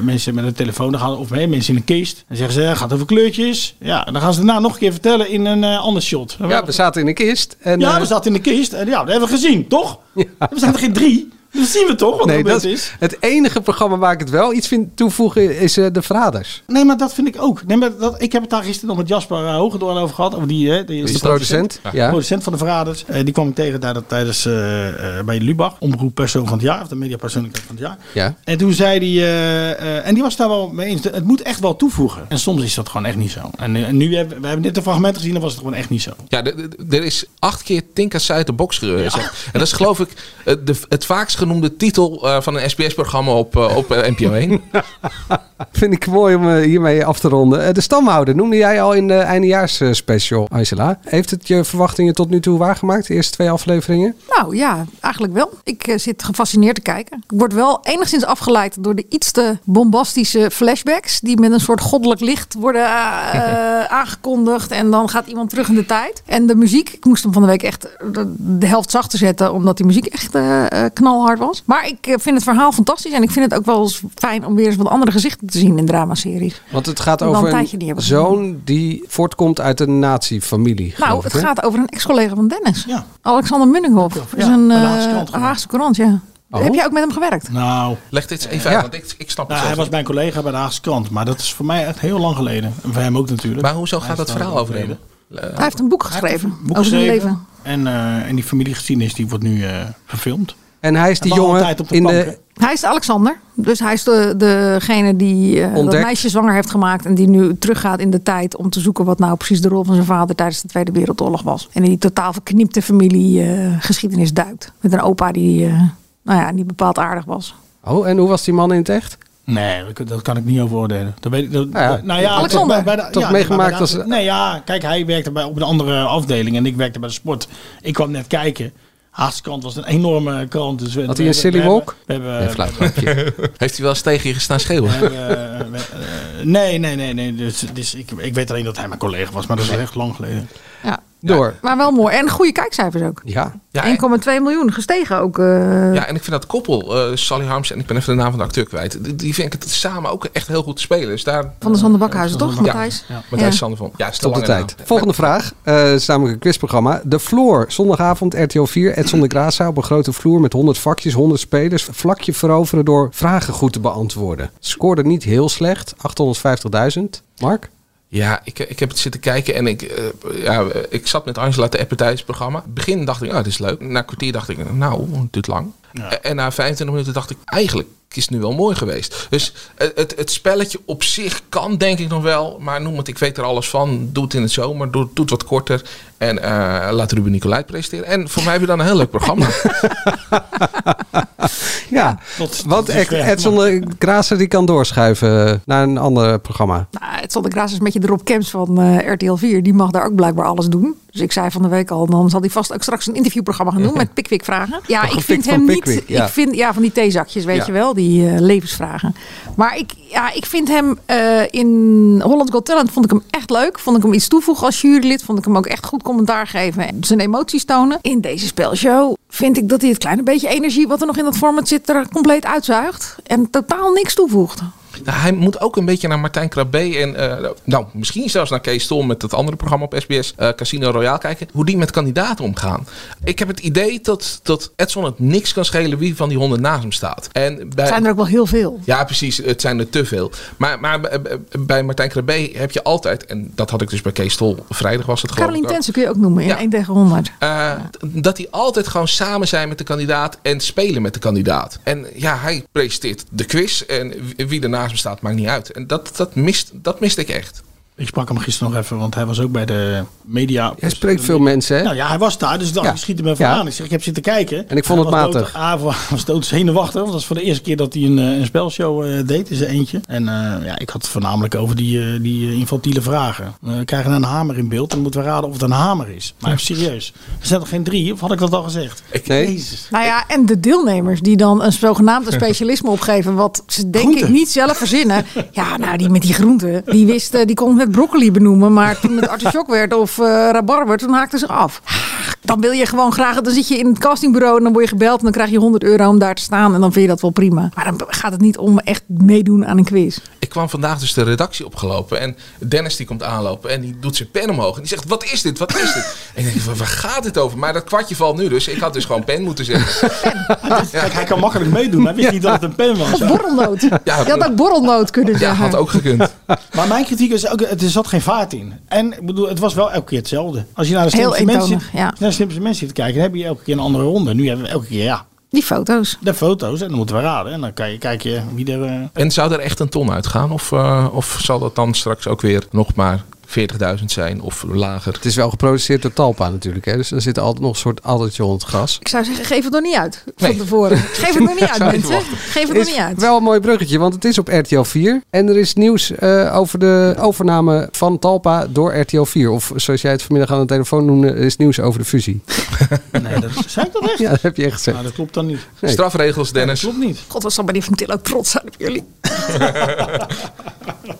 mensen met een telefoon dan gaan, of nee, mensen in een kist. En zeggen ze, "Ja, gaat over kleurtjes. Ja, en dan gaan ze daarna nog een keer vertellen in een eh, ander shot. Ja, we zaten in de kist. En, ja, eh, we zaten in de kist. En ja, dat hebben we gezien, toch? We zijn er geen drie. Dat zien we toch, wat er nee, gebeurd dat is. is het enige programma waar ik het wel iets vind toevoegen is eh, de Verraders. Nee, maar dat vind ik ook. Nee, maar dat, ik heb het daar gisteren nog met Jasper uh, Hogendoorn over gehad. Over die, hè, die, is de de producent, ja. De producent van de Verraders. Eh, die kwam ik tegen daar, dat tijdens eh, eh, bij Lubach. Omroep persoon van het jaar. Of de mediapersoonlijkheid van het jaar. Ja. En toen zei hij... eh, eh, en die was daar wel mee eens. Het moet echt wel toevoegen. En soms is dat gewoon echt niet zo. En, eh, en nu hebben we hebben net een fragment gezien. Dan was het gewoon echt niet zo. Ja, de- de- er is acht keer Tinkas uit de box gezegd. En dat is geloof ik eh, de, het vaakst genoemde titel eh, van een SBS-programma op, eh, op eh, NPO 1. Vind ik mooi om eh, hiermee af te ronden. Eh, de stamhouder noemde jij al in de eindejaarsspecial, eh, Angela. Heeft het je verwachtingen tot nu toe waargemaakt, de eerste twee afleveringen? Nou ja, eigenlijk wel. Ik eh, zit gefascineerd te kijken. Ik word wel enigszins afgeleid door de iets te bombastische flashbacks. Die met een soort goddelijk licht worden eh, eh, aangekondigd. En dan gaat iemand terug in de tijd. En de muziek, ik moest hem van de week echt eh, de, de helft zachter zetten. Omdat die muziek echt eh, eh, knalhard was. Maar ik eh, vind het verhaal fantastisch. En ik vind het ook wel eens fijn om weer eens wat andere gezichten te zien in dramaseries. Want het gaat Ik wil een over tijdje niet een hebben zoon die voortkomt uit een nazi-familie. Nou, geloof het ik, hè? gaat over een ex-collega van Dennis. Alexander Munninghoff. Dat is een eh, Haagse krant, ja. Oh. Heb jij ook met hem gewerkt? Nou... Leg dit eens even uit, want ik, ik snap Nou, het hij zelf was niet. mijn collega bij de Haagse Krant. Maar dat is voor mij echt heel lang geleden. En voor hem ook natuurlijk. Maar hoezo Hij gaat is dat daar verhaal over hem? Hij heeft een boek geschreven boek over zijn geschreven. En, leven. eh, en die familiegeschiedenis die wordt nu eh, verfilmd. En hij is die lag al jongen tijd op de in plank, de... Hij is de Alexander. Dus hij is de, degene die eh, dat Ontdekt. meisje zwanger heeft gemaakt. En die nu teruggaat in de tijd om te zoeken wat nou precies de rol van zijn vader tijdens de Tweede Wereldoorlog was. En in die totaal verknipte familiegeschiedenis duikt. Met een opa die eh, nou ja, niet bepaald aardig was. Oh, en hoe was die man in het echt? Nee, dat- dat kan ik niet over oordelen. Dat weet ik, dat, Nou ja, nou ja, Alexander, bij- bij de- toch ja, meegemaakt bij de- als- Nee, ja, kijk, hij werkte bij, op een andere afdeling en ik werkte bij de sport. Ik kwam net kijken. Haagse krant was een enorme krant. Dus we- Had hij een we- silly we hebben- walk? We hebben, Nee, flauw grapje. Heeft hij wel eens tegen je gestaan schreeuwen? we hebben, we- eh, nee, nee, nee. nee dus, dus ik, ik weet alleen dat hij mijn collega was, maar dat is echt lang geleden. Ja. Door. Maar wel mooi. En goede kijkcijfers ook. Ja. 1,2 miljoen gestegen ook. eh, Ja, en ik vind dat koppel, eh, Sally Harms en ik ben even de naam van de acteur kwijt. Die, die vind ik het samen ook echt heel goed spelen. Dus daar, Van de Sander Bakhuizen, toch? Matthijs? Ja, Matthijs Ja. Sander van. Ja, is te Tot de lange naam. tijd. Volgende vraag. Eh is namelijk een quizprogramma. De Floor. Zondagavond RTL 4. Edson de Graça op een grote vloer met 100 vakjes, 100 spelers. Vlakje veroveren door vragen goed te beantwoorden. Scoorde niet heel slecht. 850.000. Mark? Ja, ik, ik heb het zitten kijken en ik, eh, ja, ik zat met Angela te appen tijdens het programma. Begin dacht ik, nou, het is leuk. Na een kwartier dacht ik, nou, het duurt lang. En, en na 25 minuten dacht ik, eigenlijk is het nu wel mooi geweest. Dus het, het, het spelletje op zich kan denk ik nog wel. Maar noem het, ik weet er alles van. Doe het in het zomer, doe, doe het wat korter. En eh, laat Ruben Nicolai presenteren. En voor mij hebben we dan een heel leuk programma. Ja, tot- want tot dusver. Edson de Grazer die kan doorschuiven naar een ander programma. Nou, het stond de Graas is met je erop camps van eh, RTL 4. Die mag daar ook blijkbaar alles doen. Dus ik zei van de week al, dan zal hij vast ook straks een interviewprogramma [laughs] gaan doen met Pickwick vragen. Ja, ik gepikt vind van hem niet. Pickwick, ja. Ik vind ja van die theezakjes, weet Ja. je wel, die eh, levensvragen. Maar ik, ja, ik vind hem eh, in Holland Got Talent vond ik hem echt leuk. Vond ik hem iets toevoegen als jurylid. Vond ik hem ook echt goed commentaar geven en zijn emoties tonen. In deze spelshow vind ik dat hij het kleine beetje energie wat er nog in dat format zit er compleet uitzuigt en totaal niks toevoegt. Nou, hij moet ook een beetje naar Martijn Krabbe en eh, nou, misschien zelfs naar Kees Stol met dat andere programma op SBS, eh, Casino Royale kijken, hoe die met kandidaten omgaan. Ik heb het idee dat, dat Edson het niks kan schelen wie van die honden naast hem staat. En Eh, bij, zijn er ook wel heel veel. ja, precies. Het zijn er te veel. Maar, maar bij- bij Martijn Krabbe heb je altijd, en dat had ik dus bij Kees Stol, vrijdag was het gewoon. Caroline Tensen kun je ook noemen in 1 tegen 100. Eh, d- dat die altijd gewoon samen zijn met de kandidaat en spelen met de kandidaat. En ja, hij presenteert de quiz en wie- wie ernaast hem staat maakt niet uit. En dat, dat, mist, dat mist ik echt. Ik sprak hem gisteren nog even, want hij was ook bij de media. Hij spreekt veel mensen, hè? Nou ja, hij was daar, dus dan Ja. schiet hem even Ja. aan. Ik zeg, ik heb zitten kijken. En ik vond Hij het was matig. dood- Hij wa- was dood zenuwachtig, want dat is voor de eerste keer dat hij een, eh, een spelshow eh, deed, is er eentje. En eh, ja, ik had het voornamelijk over die, eh, die eh, infantiele vragen. Eh, we krijgen een hamer in beeld, dan moeten we raden of het een hamer is. Maar even serieus, er zijn er geen drie, of had ik dat al gezegd? Jezus. Nou ja, en de deelnemers die dan een zogenaamde [laughs] specialisme opgeven, wat ze denk ik Groente. niet zelf verzinnen. Ja, nou die met die groenten, die wist, eh, die kon het met broccoli benoemen, maar toen het artichok werd of eh rabarber, toen haakten ze af. Dan wil je gewoon graag, dan zit je in het castingbureau en dan word je gebeld en dan krijg je 100 euro om daar te staan en dan vind je dat wel prima. Maar dan gaat het niet om echt meedoen aan een quiz. Ik kwam vandaag dus de redactie opgelopen en Dennis die komt aanlopen en die doet zijn pen omhoog. En die zegt, wat is dit, wat is dit? [laughs] en ik denk, "Wa- waar gaat dit over? Maar dat kwartje valt nu dus. Ik had dus gewoon pen moeten zeggen. Kijk, hij kan makkelijk meedoen, hij wist niet dat het een pen [laughs] was. Of borrelnoot. je had ook borrelnoot kunnen Ja, zeggen. had ook gekund. Maar mijn kritiek is ook, er zat geen vaart in. En ik bedoel, het was wel elke keer hetzelfde. Als je naar de Heel slimste, mensen, eentonig, ja. naar de slimste mensen zit te kijken, dan heb je elke keer een andere ronde. Nu hebben we elke keer, ja, Die foto's. de foto's en dan moeten we raden. En dan kan je, kijk je wie er... [laughs] eh, [laughs] En zou er echt een ton uitgaan? Of, eh, of zal dat dan straks ook weer nog maar 40.000 zijn of lager? Het is wel geproduceerd door Talpa natuurlijk, hè? Dus er zit altijd nog een soort addertje onder het gras. Ik zou zeggen, geef het nog niet uit van Nee. tevoren. Geef het nog niet uit, Zou je mensen. verwachten. Geef het nog is niet uit. wel een mooi bruggetje, want het is op RTL 4. En er is nieuws eh, over de overname van Talpa door RTL 4. Of zoals jij het vanmiddag aan de telefoon noemde, er is nieuws over de [laughs] fusie. Nee, dat zei ik dat echt? Ja, dat heb je echt gezegd. Nou, dat klopt dan niet. Nee. Strafregels, Dennis. Klopt niet. God, wat zal meneer Van Til ook trots zijn op jullie.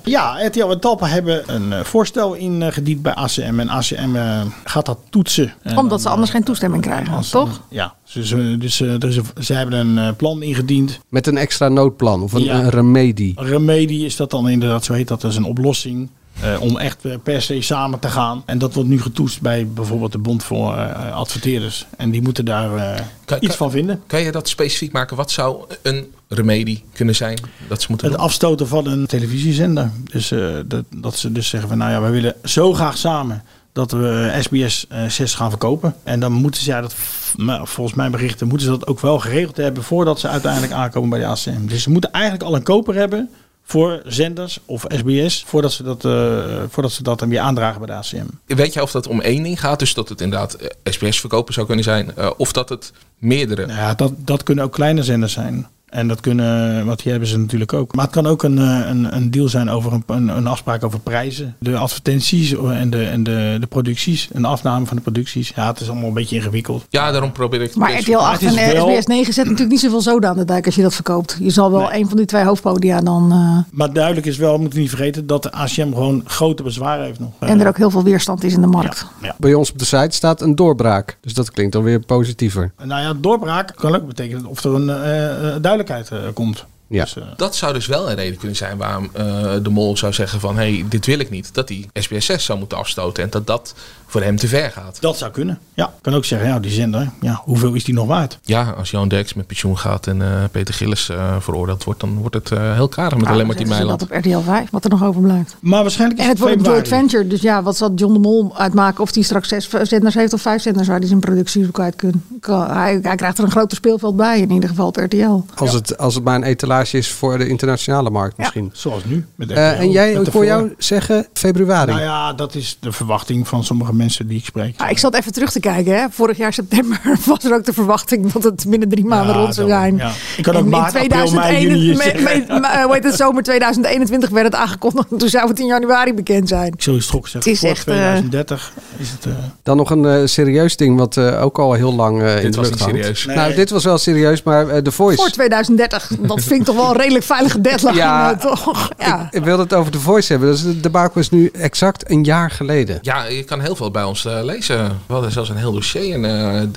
Ja, RTL en Talpa hebben een eh, voorstel ingediend bij ACM. En ACM eh, gaat dat toetsen. En dan- eh, Omdat ze anders geen toestemming krijgen, toch? Ja, dus, eh, dus, eh, er is een- ze hebben een eh, plan ingediend. Met een extra noodplan of een, Ja. een remedie. Remedie is dat dan inderdaad, zo heet dat, dat is een oplossing. eh, om echt eh, per se samen te gaan. En dat wordt nu getoetst bij bijvoorbeeld de Bond voor eh, Adverteerders. En die moeten daar eh, Kan- iets kan- van vinden. Kan je dat specifiek maken? Wat zou een remedie kunnen zijn dat ze moeten Het doen? afstoten van een televisiezender. Dus eh, dat, dat ze dus zeggen van nou ja, wij willen zo graag samen dat we SBS eh 6 gaan verkopen. En dan moeten ze ja, dat, nou, volgens mijn berichten, moeten ze dat ook wel geregeld hebben voordat ze uiteindelijk aankomen bij de ACM. Dus ze moeten eigenlijk al een koper hebben voor zenders of SBS voordat ze dat, eh, voordat ze dat dan weer aandragen bij de ACM. Weet je of dat om één ding gaat? Dus dat het inderdaad eh, SBS verkopen zou kunnen zijn. eh, of dat het meerdere. Nou ja, dat, dat kunnen ook kleine zenders zijn. En dat kunnen, want die hebben ze natuurlijk ook. Maar het kan ook een, eh, een, een deal zijn over een, een, een afspraak over prijzen. De advertenties en, de, en de, de producties. Een afname van de producties. Ja, het is allemaal een beetje ingewikkeld. Ja, daarom probeer ik het Maar best- RTL 8 en het is eh, wel- SBS 9 zet natuurlijk niet zoveel zoden aan de dijk als je dat verkoopt. Je zal wel een van die twee hoofdpodia dan... eh, Maar duidelijk is wel, moeten we niet vergeten, dat de ACM gewoon grote bezwaren heeft nog. Eh, en er ook heel veel weerstand is in de markt. Bij ons op de site staat een doorbraak. Dus dat klinkt dan weer positiever. Nou ja, doorbraak kan ook betekenen of er een eh, eh, duidelijkheid eh, komt. Ja. Dat zou dus wel een reden kunnen zijn waarom eh, de mol zou zeggen van... hé, hey, dit wil ik niet. Dat hij SBS 6 zou moeten afstoten. En dat dat voor hem te ver gaat. Dat zou kunnen. Ja, kan ook zeggen, ja, die zender, ja, hoeveel is die nog waard? Ja, als Johan Derks met pensioen gaat en eh, Peter Gillis eh, veroordeeld wordt... dan wordt het eh, heel karig met Nou, alleen maar dan die zetten ze Meiland. dat op RTL 5, wat er nog overblijft. Maar waarschijnlijk is En het wordt een februari. joint venture. Dus ja, wat zal John de Mol uitmaken of hij straks zes v- zenders heeft of vijf zenders waar hij zijn productie op kwijt kan. Kan- Hij, hij krijgt er een groter speelveld bij, in ieder geval op RTL. Als, het, als het maar een etalage percentage is voor de internationale markt misschien. zoals nu. met Eh, RTL, en jij, met ik hoor jou daarvoor. zeggen februari. Nou ja, dat is de verwachting van sommige mensen die ik spreek. Ah, ik zat even terug te kijken. Hè. Vorig jaar september [laughs] was er ook de verwachting dat het binnen drie maanden rond zou zijn. ja. Ik kan ook En in maart, april, mei, juni hier me- me- zeggen. me- eh, hoe heet het, zomer 2021 werd het aangekondigd. Toen zou het in januari bekend zijn. Ik zul je strok zeggen, Het voor is echt, eh, 2030 is het... eh, Dan nog een eh, serieus ding wat eh, ook al heel lang eh, in de was lucht niet hangt. serieus. Nou, Nee. dit was wel serieus, maar eh, The Voice. Voor 2030. Dat vind ik toch wel een redelijk veilige deadline. Ja. eh, toch? Ja. Ik wilde het over The Voice hebben. Dus de debakel is nu exact een jaar geleden. Ja, je kan heel veel bij ons eh, lezen. We hadden zelfs een heel dossier en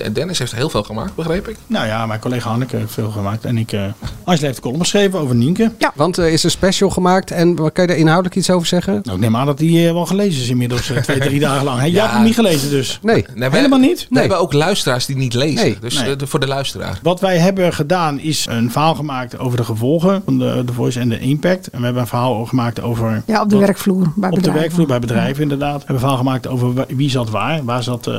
eh, Dennis heeft heel veel gemaakt, begreep ik. Nou ja, mijn collega Hanneke heeft veel gemaakt. En ik, eh Angela heeft de column geschreven over Nienke. Ja. Want er is een special gemaakt en wat- kan je daar inhoudelijk iets over zeggen? Nou, ik neem aan dat die eh, wel gelezen is inmiddels, eh, twee, drie dagen lang. Hey, Jij Ja. hebt hem niet gelezen dus? Nee. Nee, we- Helemaal niet? We hebben ook luisteraars die niet lezen. Nee. Dus Nee. eh, de- voor de luisteraar. Wat wij hebben gedaan is een verhaal gemaakt over de gevolgen van de, de voice en de impact. En we hebben een verhaal gemaakt over... ja, op de wat- werkvloer. Bij Op de bedrijven. werkvloer bij bedrijven, inderdaad. We hebben een verhaal gemaakt over wa- wie zat waar. Waar zat eh,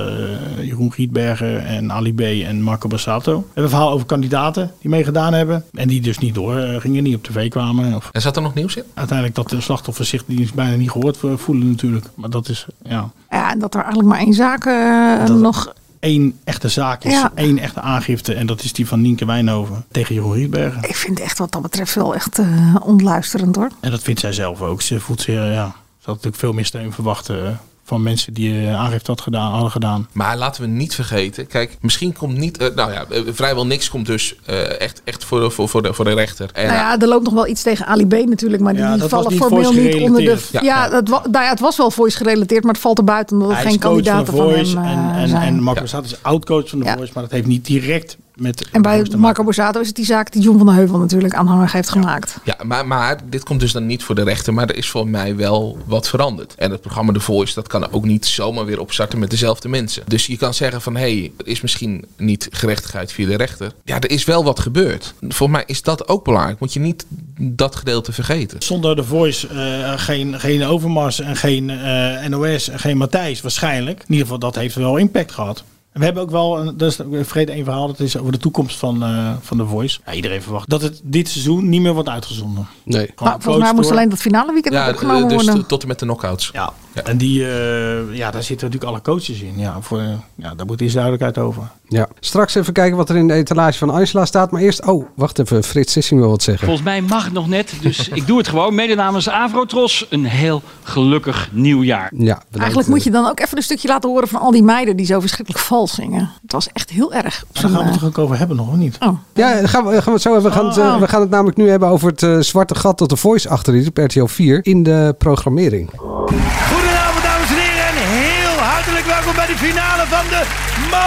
Jeroen Gietberger en Ali B. en Marco Bassato. We hebben een verhaal over kandidaten die meegedaan hebben. En die dus niet door eh, gingen, niet op tv kwamen. Of En zat er nog nieuws in? uiteindelijk dat de slachtoffers zich die is bijna niet gehoord vo- voelen natuurlijk. Maar dat is, ja. Ja, en dat er eigenlijk maar één zaak eh, Dat- nog... Eén echte zaak is, Ja. één echte aangifte. En dat is die van Nienke Wijnhoven tegen Jeroen Rietbergen. Ik vind echt wat dat betreft wel echt eh, onluisterend hoor. En dat vindt zij zelf ook. Ze voelt zich, eh, ja, ze had natuurlijk veel meer steun verwacht eh, van mensen die eh, aangifte had gedaan, hadden gedaan. Maar laten we niet vergeten, kijk, misschien komt niet, eh, nou ja, eh, vrijwel niks komt dus eh, echt, echt voor, voor, voor, de, voor de rechter. En, nou eh, ja, er loopt nog wel iets tegen Ali B natuurlijk, maar die Ja, dat was vallen niet formeel voice niet onder de... gerelateerd. Ja, Ja. dat wa- nou ja, het was wel voice gerelateerd, maar het valt erbuiten omdat er Hij is geen coach kandidaten van, van, de hem Voice eh, en, en, zijn. en Marco Borsato is oud-coach van de Voice, maar dat heeft niet direct met... En bij Marco Borsato is het die zaak die John van der Heuvel natuurlijk aanhanger heeft gemaakt. Ja, maar, maar dit komt dus dan niet voor de rechter. Maar er is voor mij wel wat veranderd. En het programma The Voice, dat kan ook niet zomaar weer opstarten met dezelfde mensen. Dus je kan zeggen van, hé, hey, er is misschien niet gerechtigheid via de rechter. Ja, er is wel wat gebeurd. Voor mij is dat ook belangrijk. Moet je niet dat gedeelte vergeten. Zonder de Voice eh, geen, geen Overmars en geen eh, NOS en geen Matthijs waarschijnlijk. In ieder geval, dat heeft wel impact gehad. En We hebben ook wel, een, dat is, ik vergeet één verhaal, dat is over de toekomst van, eh, van de Voice. Ja, iedereen verwacht dat het dit seizoen niet meer wordt uitgezonden. Nee. Maar volgens mij moest alleen dat finale weekend nog opgenomen dus worden. t- tot en met de knockouts. Ja. En die, eh, ja, daar zitten natuurlijk alle coaches in. Ja, voor, eh, ja, daar moet eerst duidelijkheid over. Ja. Straks even kijken wat er in de etalage van Angela staat. Maar eerst, oh, wacht even. Frits Sissing wil wat zeggen. Volgens mij mag het nog net, dus ik doe het gewoon. Mede namens Avrotros een heel gelukkig nieuwjaar. Ja, eh, Eigenlijk moet je dan ook even een stukje laten horen van al die meiden die zo verschrikkelijk vals zingen. Het was echt heel erg. op Maar daar zo'n, gaan we eh, het toch ook over hebben nog, of niet? Oh. Ja, dan gaan we, gaan we het zo hebben. We gaan, het, eh, we gaan het namelijk nu hebben over het eh, zwarte gat dat de Voice achterin op RTL 4 in de programmering. Goedenavond, dames en heren. En heel hartelijk welkom bij de finale van de [laughs]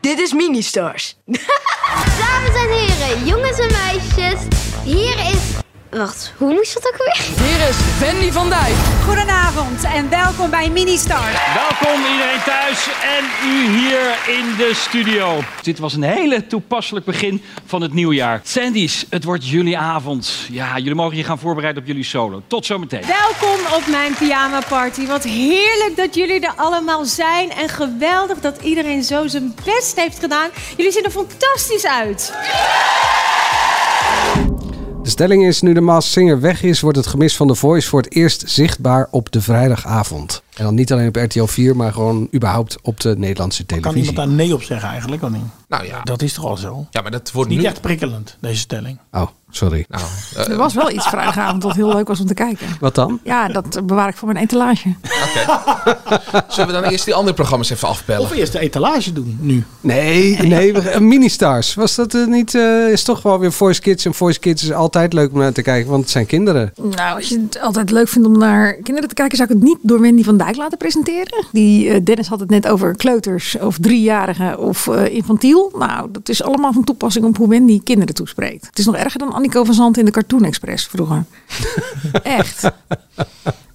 Dit is [laughs] Ministars. Dames en heren, jongens en meisjes, hier is. Wacht, hoe moest dat ook weer? Hier is Wendy van Dijk. Goedenavond en welkom bij Ministar. Welkom iedereen thuis en u hier in de studio. Dit was een hele toepasselijk begin van het nieuwjaar. Sandy's, het wordt jullie avond. Ja, jullie mogen je gaan voorbereiden op jullie solo. Tot zometeen. Welkom op mijn pyjama party. Wat heerlijk dat jullie er allemaal zijn. En geweldig dat iedereen zo zijn best heeft gedaan. Jullie zien er fantastisch uit. De stelling is, nu de Maas Singer weg is, wordt het gemis van de Voice voor het eerst zichtbaar op de vrijdagavond. En dan niet alleen op RTL 4, maar gewoon überhaupt op de Nederlandse Kan televisie. iemand daar nee op zeggen eigenlijk, of niet? Nou ja. Dat is toch al zo? Ja, maar dat wordt Niet nu... Nou, eh, echt prikkelend, deze stelling. Oh, sorry. Er was wel [laughs] iets vrijdagavond dat heel leuk was om te kijken. Wat dan? Ja, dat bewaar ik voor mijn etalage. Zullen we dan eerst die andere programma's even afbellen? Of eerst de etalage doen, nu. Nee, nee, we- eh, Ministars. Was dat eh, niet, eh, is toch wel weer Voice Kids. En Voice Kids is altijd leuk om naar te kijken, want het zijn kinderen. Nou, als je het altijd leuk vindt om naar kinderen te kijken, zou ik het niet door Wendy van Dijk laten presenteren. Die eh, Dennis had het net over kleuters of driejarigen of eh, infantiel. Nou, dat is allemaal van toepassing op hoe Wendy kinderen toespreekt. Het is nog erger dan Annico van Zandt in de Cartoon Express vroeger. echt.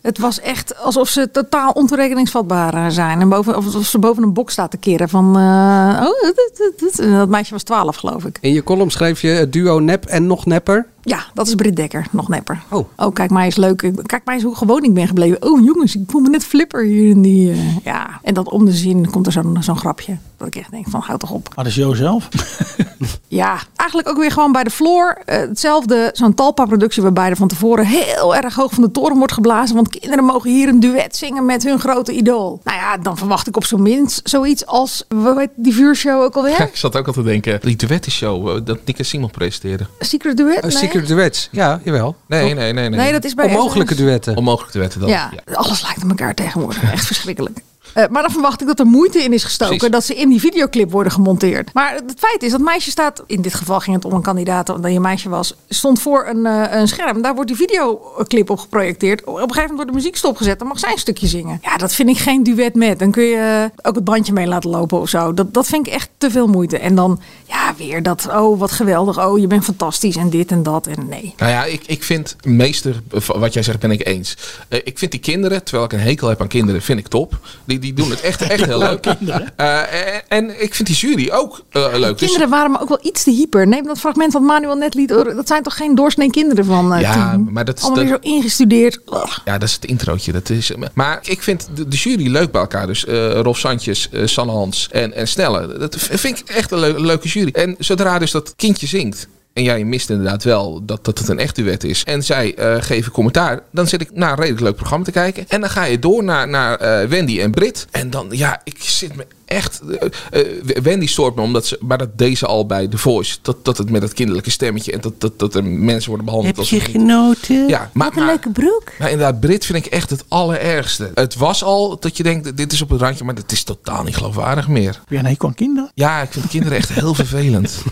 Het was echt alsof ze totaal ontoerekeningsvatbaar eh, zijn. En boven, of alsof ze boven een bok staat te keren van... eh, oh, dit, dit, dit. En dat meisje was twaalf, geloof ik. In je column schreef je het duo nep en nog nepper. Ja, dat is Britt Dekker, nog nepper. Oh. kijk maar eens leuk. Ik- Kijk maar eens hoe gewoon ik ben gebleven. Oh jongens, ik voel me net flipper hier in die... eh, ja. En dan om de zin komt er zo'n zo'n grapje. Dat ik echt denk van, houd toch op. Maar dat is Jo zelf. [laughs] Ja, eigenlijk ook weer gewoon bij de floor. eh, hetzelfde, zo'n Talpa-productie waarbij er van tevoren heel erg hoog van de toren wordt geblazen. Want kinderen mogen hier een duet zingen met hun grote idool. Nou ja, dan verwacht ik op zijn minst zoiets als, hoe heet die vuurshow ook alweer? [laughs] Ik zat ook al te denken, die duettenshow, eh, dat Nick en Simon presenteren. Secret Duet? Een Nee, hè? Eh, Oh, secret duets, ja, jawel. Nee, nee, nee. Nee, Nee, dat is bij Onmogelijke duetten. Onmogelijke duetten dan. Ja, alles lijkt op elkaar tegenwoordig. Echt verschrikkelijk. Eh, maar dan verwacht ik dat er moeite in is gestoken Precies. dat ze in die videoclip worden gemonteerd. Maar het feit is, dat meisje staat, in dit geval ging het om een kandidaat omdat je meisje was, stond voor een, eh, een scherm. Daar wordt die videoclip op geprojecteerd. Op een gegeven moment wordt de muziek stopgezet, dan mag zij een stukje zingen. Ja, dat vind ik geen duet met. Dan kun je eh, ook het bandje mee laten lopen of zo. Dat, dat vind ik echt te veel moeite. En dan, ja, weer dat, oh wat geweldig, oh je bent fantastisch en dit en dat. En nee. Nou ja, ik, ik vind meester, van wat jij zegt, ben ik eens. Eh, ik vind die kinderen, terwijl ik een hekel heb aan kinderen, vind ik top. Die, die doen het echt, echt heel leuk. Eh, en, en ik vind die jury ook eh, leuk. Dus- Kinderen waren me ook wel iets te hyper. Neem dat fragment wat Manuel net liet. horen. Dat zijn toch geen doorsnee kinderen van eh Ja, tien? maar dat is Allemaal dat- weer zo ingestudeerd. Ugh. ja, dat is het introotje. Dat is, maar ik vind de, de jury leuk bij elkaar. Dus eh Rolf Sandjes, eh, Sanne Hans en, en Snelle. Dat v- vind ik echt een leu- leuke jury. En zodra dus dat kindje zingt. En jij mist inderdaad wel dat, dat het een echt duet is. En zij eh, geven commentaar. Dan zit ik naar een redelijk leuk programma te kijken. En dan ga je door naar, naar eh, Wendy en Brit. En dan, ja, ik zit me echt... eh, eh, Wendy stoort me omdat ze... Maar dat deze al bij The Voice. Dat, dat het met dat kinderlijke stemmetje. En dat, dat, dat er mensen worden behandeld als... een- genoten? ja, maar, Wat een leuke broek. Maar inderdaad, Brit vind ik echt het allerergste. Het was al dat je denkt, dit is op het randje, maar dit is totaal niet geloofwaardig meer. Ja, nee, kan kinderen. Ja, ik vind kinderen echt heel vervelend.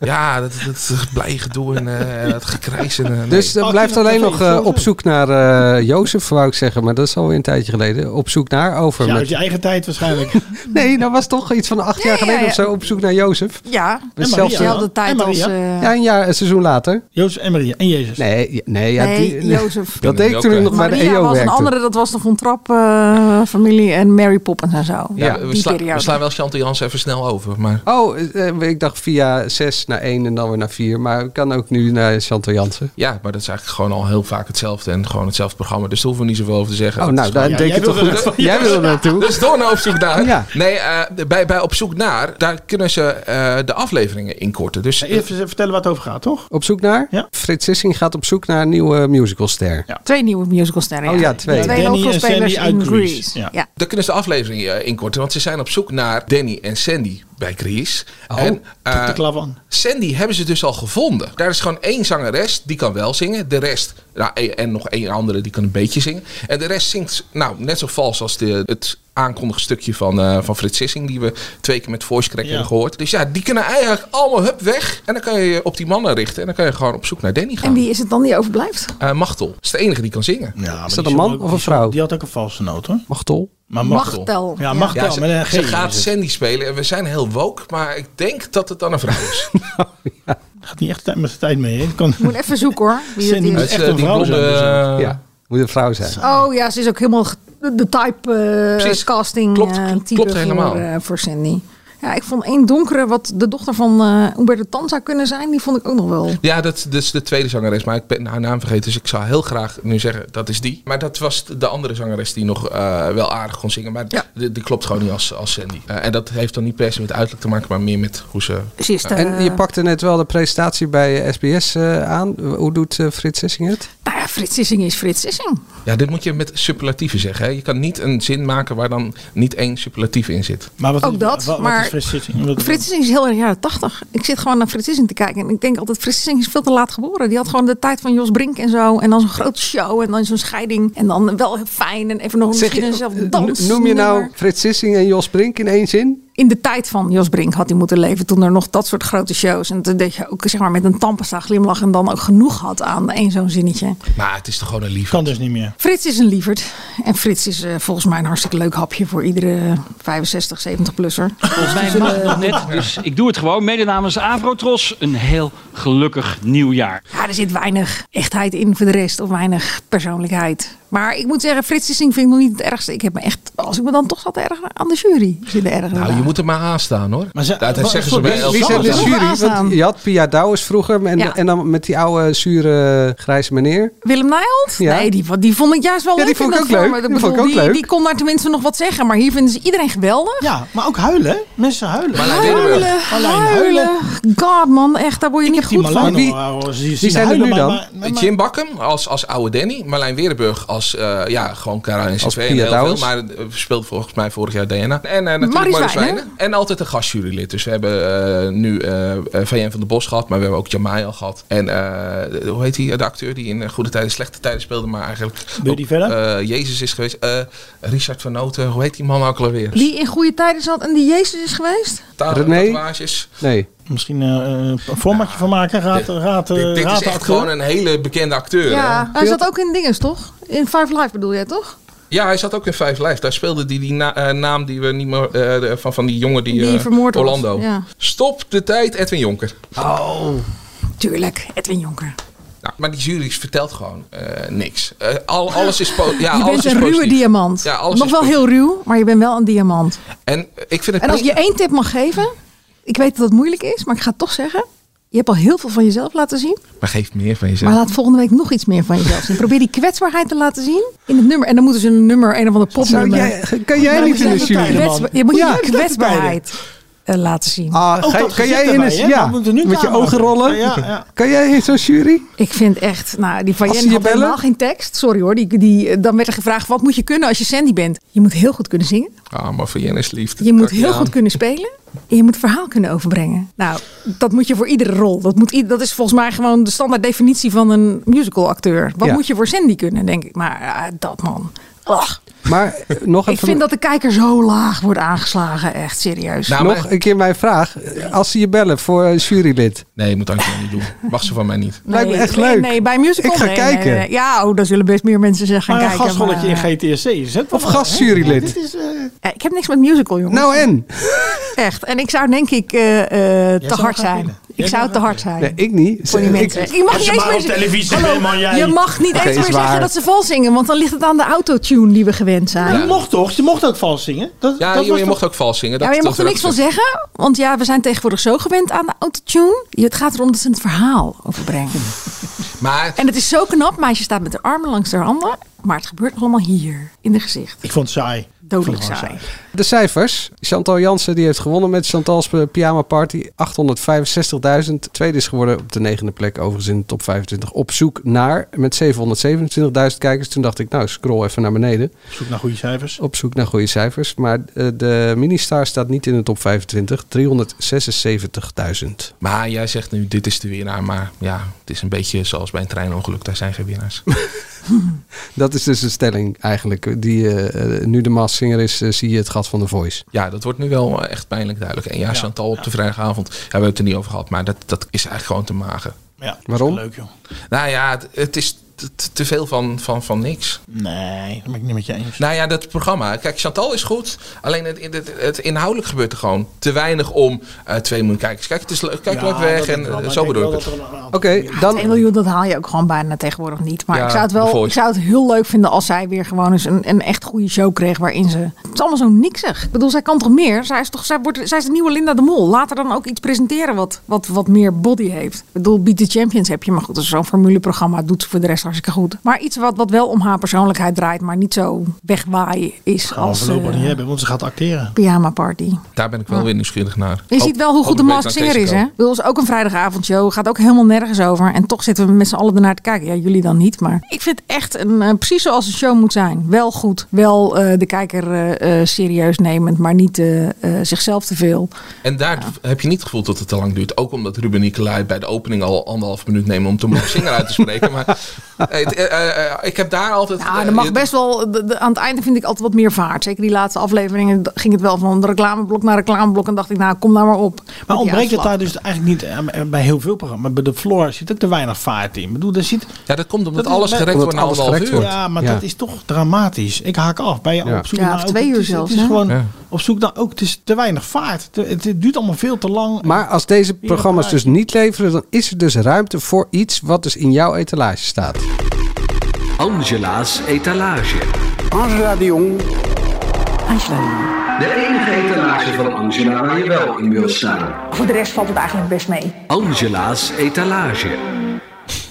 ja, dat, dat, dat blij gedoe en eh, dat gekrijs. En, eh, nee. Dus Oh, dan blijft alleen nog eh, op zoek naar eh, Jozef, wou ik zeggen. Maar dat is alweer een tijdje geleden. Op zoek naar over. Ja, met- uit je eigen tijd waarschijnlijk. [laughs] Nee, dat was toch iets van acht jaar geleden of zo. Op zoek naar Jozef. Ja, Dat is zelfs- dezelfde tijd als... eh, Ja, een, jaar, een seizoen later. Jozef en Maria. En Jezus. Nee, ja- nee, ja, Nee, die, Jozef. Dat deed ik toen ik nog bij de Maria EO E was werkte. een andere, dat was de Von Trapp eh, familie en Mary Poppins en zo. Ja, we, die sla- we periode. slaan wel Chantal Jans even snel over. Maar Oh, eh, ik dacht via 6 naar 1 en dan weer naar 4. Maar ik kan ook nu naar Chantal Jansen. ja, maar dat is eigenlijk gewoon al heel vaak hetzelfde. En gewoon hetzelfde programma. Dus daar hoeven we niet zoveel over te zeggen. Oh, Dat nou, is daar gewoon- denk ik toch goed. Jij wil er naartoe. Dus door naar op zoek naar. Ja. Nee, eh, bij, bij op zoek naar, daar kunnen ze eh, de afleveringen inkorten. Dus eh, Even vertellen waar het over gaat, toch? Op zoek naar? Frits Sissing gaat op zoek naar een nieuwe musicalster. Twee nieuwe musicalsterren. Oh ja, twee. Twee Danny en hoofdrolspelers Sandy in uit Grease. Grease. Ja. Dan kunnen ze de aflevering eh, inkorten, want ze zijn op zoek naar Danny en Sandy bij Chris. Oh, en, eh, Tot de klap aan. Sandy hebben ze dus al gevonden. Daar is gewoon één zangeres, die kan wel zingen. De rest, nou, e- en nog één andere, die kan een beetje zingen. En de rest zingt nou, net zo vals als de, het aankondigstukje van, eh, van Frits Sissing... die we twee keer met voice crack Ja. hebben gehoord. Dus ja, die kunnen eigenlijk allemaal hup weg. En dan kan je je op die mannen richten. En dan kan je gewoon op zoek naar Danny gaan. En wie is het dan die overblijft? Eh, Machtel is de enige die kan zingen. Ja, Is maar dat een die man zong ook- of een die zong- vrouw? Die had ook een valse noot, hoor. Machtel. Maar Machtel. Machtel. Ja, Machtel. Ja, ze, nou, met een G dus. ze is gaat het. Sandy spelen en we zijn heel woke, maar ik denk dat het dan een vrouw [laughs] is. Gaat niet echt tijd- met de tijd mee, hè? Kan... Moet even zoeken hoor. Wie dat Sandy die moet is. echt eh, een die vrouw blonde, zijn. eh, Ja, moet een vrouw zijn. Oh ja, ze is ook helemaal ge- de type eh, Precies. casting Klopt, eh, klopt type helemaal. Voor, eh, voor Sandy. Ja, ik vond één donkere wat de dochter van eh Umberto Tan zou kunnen zijn. Die vond ik ook nog wel. Ja, dat, is- dat is de tweede zangeres, maar ik ben haar naam vergeten. Dus ik zou heel graag nu zeggen, dat is die. Maar dat was de andere zangeres die nog eh, wel aardig kon zingen. Maar die, die klopt gewoon niet als, als Sandy. Eh, en dat heeft dan niet per se met uiterlijk te maken, maar meer met hoe ze... Ze is de- En je Eh. pakte net wel de presentatie bij eh, SBS eh, aan. Hoe doet eh, Frits Sissing het? Nou ja, Frits Sissing is Frits Sissing. Ja, dit moet je met superlatieven zeggen. Hè? Je kan niet een zin maken waar dan niet één superlatief in zit. Maar wat, Ook dat, wa- wat maar- is Frits Sissing? Wat- Frits Sissing is heel erg jaren tachtig. Ik zit gewoon naar Frits Sissing te kijken. En ik denk altijd, Frits Sissing is veel te laat geboren. Die had gewoon de tijd van Jos Brink en zo. En dan zo'n grote show. En dan zo'n scheiding. En dan wel heel fijn. En even nog Zeg misschien je- een zelf dans. N- Noem je nou Frits Sissing en Jos Brink in één zin? in de tijd van Jos Brink had hij moeten leven. Toen er nog dat soort grote shows. En toen deed je ook zeg maar, met een tandpasta glimlach. En dan ook genoeg had aan één zo'n zinnetje. Maar het is toch gewoon een Nou, lief. Kan dus niet meer. Frits is een lieverd. En Frits is eh, volgens mij een hartstikke leuk hapje voor iedere 65, 70-plusser. Volgens mij mag het nog net, dus ik doe het gewoon. Mede namens Avrotros een heel gelukkig nieuwjaar. Ja, er zit weinig echtheid in voor de rest. Of weinig persoonlijkheid. Maar ik moet zeggen, Frits Sissing vind ik nog niet het ergste. Ik heb me echt, als ik me dan toch zat erg aan de jury zitten ergeren. Nou, je moet er maar aan staan hoor. Maar ze, dat zeggen ze bij Wie- Wie zijn de Elsa. jury? Aanstaan. Want je had Pia Douwens vroeger en, Ja. en dan met die oude zure grijze meneer. Willem Nijholt? Ja. Nee, die, die vond ik juist wel Ja, leuk. die vond in ik dat ook format. leuk. Ik Die vond ik bedoel, ook die, leuk. die kon daar tenminste nog wat zeggen. Maar hier vinden ze iedereen geweldig. Ja, maar ook huilen. hè? Mensen huilen. Maar Huilen, Alleen huilen. God man, echt, daar word je niet Die goed van. Marlijn, Die- oh, oh, ze- ze Wie zijn er huilen, nu maar- dan? maar- maar- Jim Bakkum als, als oude Danny. Marlijn Weerburg als, eh, ja, gewoon Karin en Als CV en Pia heel veel. Douwens. Maar eh, speelt volgens mij vorig jaar DNA. En eh, natuurlijk Marie Maris Zwijnen. Wijnen. En altijd een gastjurylid. Dus we hebben eh, nu eh, eh, VN van de Bos gehad. Maar we hebben ook Jamai al gehad. En eh, hoe heet die? De acteur die in eh, Goede Tijden Slechte Tijden speelde. Maar eigenlijk Buddy ook, Verder? eh, Jezus is geweest. Eh, Richard van Noten. Hoe heet die man ook alweer? Die in goede tijden zat en die Jezus is geweest. Ta- René? tatoeages. Nee. Misschien eh, een formatje van maken. Raad, raad, Dit, dit raad is echt gewoon een hele bekende acteur. hè? Ja, hij zat ook in dinges, toch? In Five Live bedoel jij, toch? Ja, hij zat ook in Vijf Live. Daar speelde hij die, na- eh, naam die we niet meer eh, de- van, van die jongen die, Die eh, vermoord was, Orlando. ja. Stop de tijd, Edwin Jonker. Oh. Tuurlijk, Edwin Jonker. Nou, maar die jury vertelt gewoon eh, niks. Eh, al, alles is po- ja, [laughs] je alles bent is een ruwe positief. diamant. Ja, alles Nog is wel heel ruw, maar je bent wel een diamant. En eh, ik vind het En als ik je prima. één tip mag geven, ik weet dat dat moeilijk is, maar ik ga het toch zeggen. Je hebt al heel veel van jezelf laten zien. Maar geef meer van Maar jezelf. laat volgende week nog iets meer van jezelf zien. Probeer die kwetsbaarheid te laten zien in het nummer. En dan moeten ze een nummer, een of andere Zou popnummer. jij, kan jij nou Maar niet moet in de je jury? kwetsba- Je moet Ja. je kwetsbaarheid eh, laten zien. Ah, Ook ga- dat kan gezicht jij in erbij, een, hè? ja, Dat moeten we nu met je klaarmaken. ogen rollen? Ja, ja. Kan jij in zo'n jury? Ik vind echt, nou, die van Als ze Jen je had bellen? helemaal geen tekst. Sorry hoor, die, die, eh, dan werd er gevraagd, wat moet je kunnen als je Sandy bent? Je moet heel goed kunnen zingen. Ah, maar van Jen is liefde. Je moet Kan ik heel niet goed aan. kunnen spelen. En je moet verhaal kunnen overbrengen. Nou, dat moet je voor iedere rol. Dat, moet, ied- dat is volgens mij gewoon de standaard definitie van een musical acteur. Wat Ja. moet je voor Sandy kunnen, denk ik. Maar ah, dat man. Ach, Maar eh, nog ik even... vind dat de kijker zo laag wordt aangeslagen. Echt serieus. Nou, nog maar- een keer mijn vraag. Als ze je bellen voor een jurylid. Nee, je moet Angela niet doen. Mag ze van mij niet. lijkt me echt nee, leuk. Nee, bij een musical. Ik ga nee, nee, kijken. nee. Ja, oh, daar zullen best meer mensen zeggen. Maar een kijken, gastrolletje in maar, GTSC. is het Of wel, hè? gastjurylid. Dit is, eh, eh, Ik heb niks met musical, jongens. Nou en? Echt. En ik zou denk ik eh, eh, te zou hard gaan zijn. winnen. Ik zou te hard zijn. Nee, ik niet. Voor die Ik- mensen. Ik mag Als niet je eens maar meer op televisie Hallo, bent, man, jij. Je mag niet Oké, eens meer is waar. zeggen dat ze vals zingen, want dan ligt het aan de autotune die we gewend zijn. Maar Ja, je mocht toch? Je mocht ook vals zingen. Dat, Ja, dat joh, was je toch- mocht ook vals zingen. maar je mag er niks van zeggen, want ja, we zijn tegenwoordig zo gewend aan de autotune. Je- Het gaat erom dat ze het verhaal overbrengen. Maar En het is zo knap, meisje staat met haar armen langs haar handen, maar het gebeurt allemaal hier, in haar gezicht. Ik vond het saai. Dodelijk Ik vond het saai. De cijfers. Chantal Jansen die heeft gewonnen met Chantal's eh, Pyjama Party. 865.000. Tweede is geworden op de negende plek overigens in de top 25. Op zoek naar met 727.000 kijkers. Toen dacht ik nou scroll even naar beneden. Op zoek naar goede cijfers. Op zoek naar goede cijfers. Maar eh, de Ministar staat niet in de top 25. 376.000. Maar jij zegt nu, dit is de winnaar. Maar ja, het is een beetje zoals bij een treinongeluk. Daar zijn geen winnaars. Dat is dus de stelling eigenlijk. Die eh, eh, nu de masszinger is, eh, zie je het gat van de voice. Ja, dat wordt nu wel eh, echt pijnlijk duidelijk. En ja, Chantal op de vrijdagavond. Ja, we hebben het er niet over gehad. Maar dat, dat is eigenlijk gewoon te mager. Ja, dat is Waarom? Leuk joh. Nou ja, het, het is te- te- te veel van, van, van niks. Nee, dat ben ik niet met je eens. Nou ja, dat programma. Kijk, Chantal is goed. Alleen het, het, het inhoudelijk gebeurt er gewoon te weinig om eh 2 miljoen kijkers. Kijk, het is leuk, kijk Ja, leuk dat weg. denk En ik wel, eh, maar zo ik denk bedoel ik wel het. dat er een aantal- Oké, Dan... dan... 1 miljoen, dat haal je ook gewoon bijna tegenwoordig niet. Maar Ja, ik, zou het de wel, Voice. ik zou het heel leuk vinden als zij weer gewoon eens een, een echt goede show kreeg waarin ze... Het is allemaal zo niksig. Ik bedoel, zij kan toch meer? Zij is, toch, zij wordt, zij is de nieuwe Linda de Mol. Laat haar dan ook iets presenteren wat, wat, wat meer body heeft. Ik bedoel, Beat the Champions heb je. Maar goed, dat is zo'n formuleprogramma. Doet ze voor de rest hartstikke goed. Maar iets wat, wat wel om haar persoonlijkheid draait, maar niet zo wegwaaien is Gaan we als... voorlopig eh, niet hebben, want ze gaat acteren. Pyjama Party. Daar ben ik wel weer nieuwsgierig naar. Je ziet wel hoe goed de Mask Singer is, hè? Ik bedoel, het is ook een vrijdagavondshow. Gaat ook helemaal nergens over. En toch zitten we met z'n allen ernaar te kijken. Ja, jullie dan niet, maar... Ik vind het echt een, eh, precies zoals een show moet zijn. Wel goed, wel eh, de kijker eh, eh, serieus nemend, maar niet eh, eh, zichzelf te veel. En daar heb je niet het gevoel dat het te lang duurt. Ook omdat Ruben Nicolai bij de opening al anderhalf minuut neemt om de Mask Singer uit te spreken. Maar eh, het, eh, eh, ik heb daar altijd... Ja, eh, er Nou, mag je- best wel... de- de- aan het einde vind ik altijd wat meer vaart. Zeker die laatste afleveringen d- ging het wel van reclameblok naar reclameblok. En dacht ik, nou, kom nou maar op. met Maar die ontbreekt het uitslag. daar dus eigenlijk niet eh, bij heel veel programma's. Bij de Floor zit ook te weinig vaart in. Ik bedoel, daar zit... Ja, dat komt omdat Dat is alles bij- gerekt Omdat wordt na alles anderhalf gerekt uur. wordt. Ja, maar Ja. dat is toch dramatisch. Ik haak af bij Ja. op zoek Ja, naar... of ook- twee het uur is- zelfs, Het is hè? gewoon Ja. op zoek naar... Ook, het is te weinig vaart. Het, het- het duurt allemaal veel te lang. Maar als deze programma's dus niet leveren, dan is er dus ruimte voor iets wat dus in jouw etalage staat. Angela's etalage. Angela de Jong. Angela de Jong. De enige etalage van Angela waar je wel in wilt staan. Voor de rest valt het eigenlijk best mee. Angela's etalage.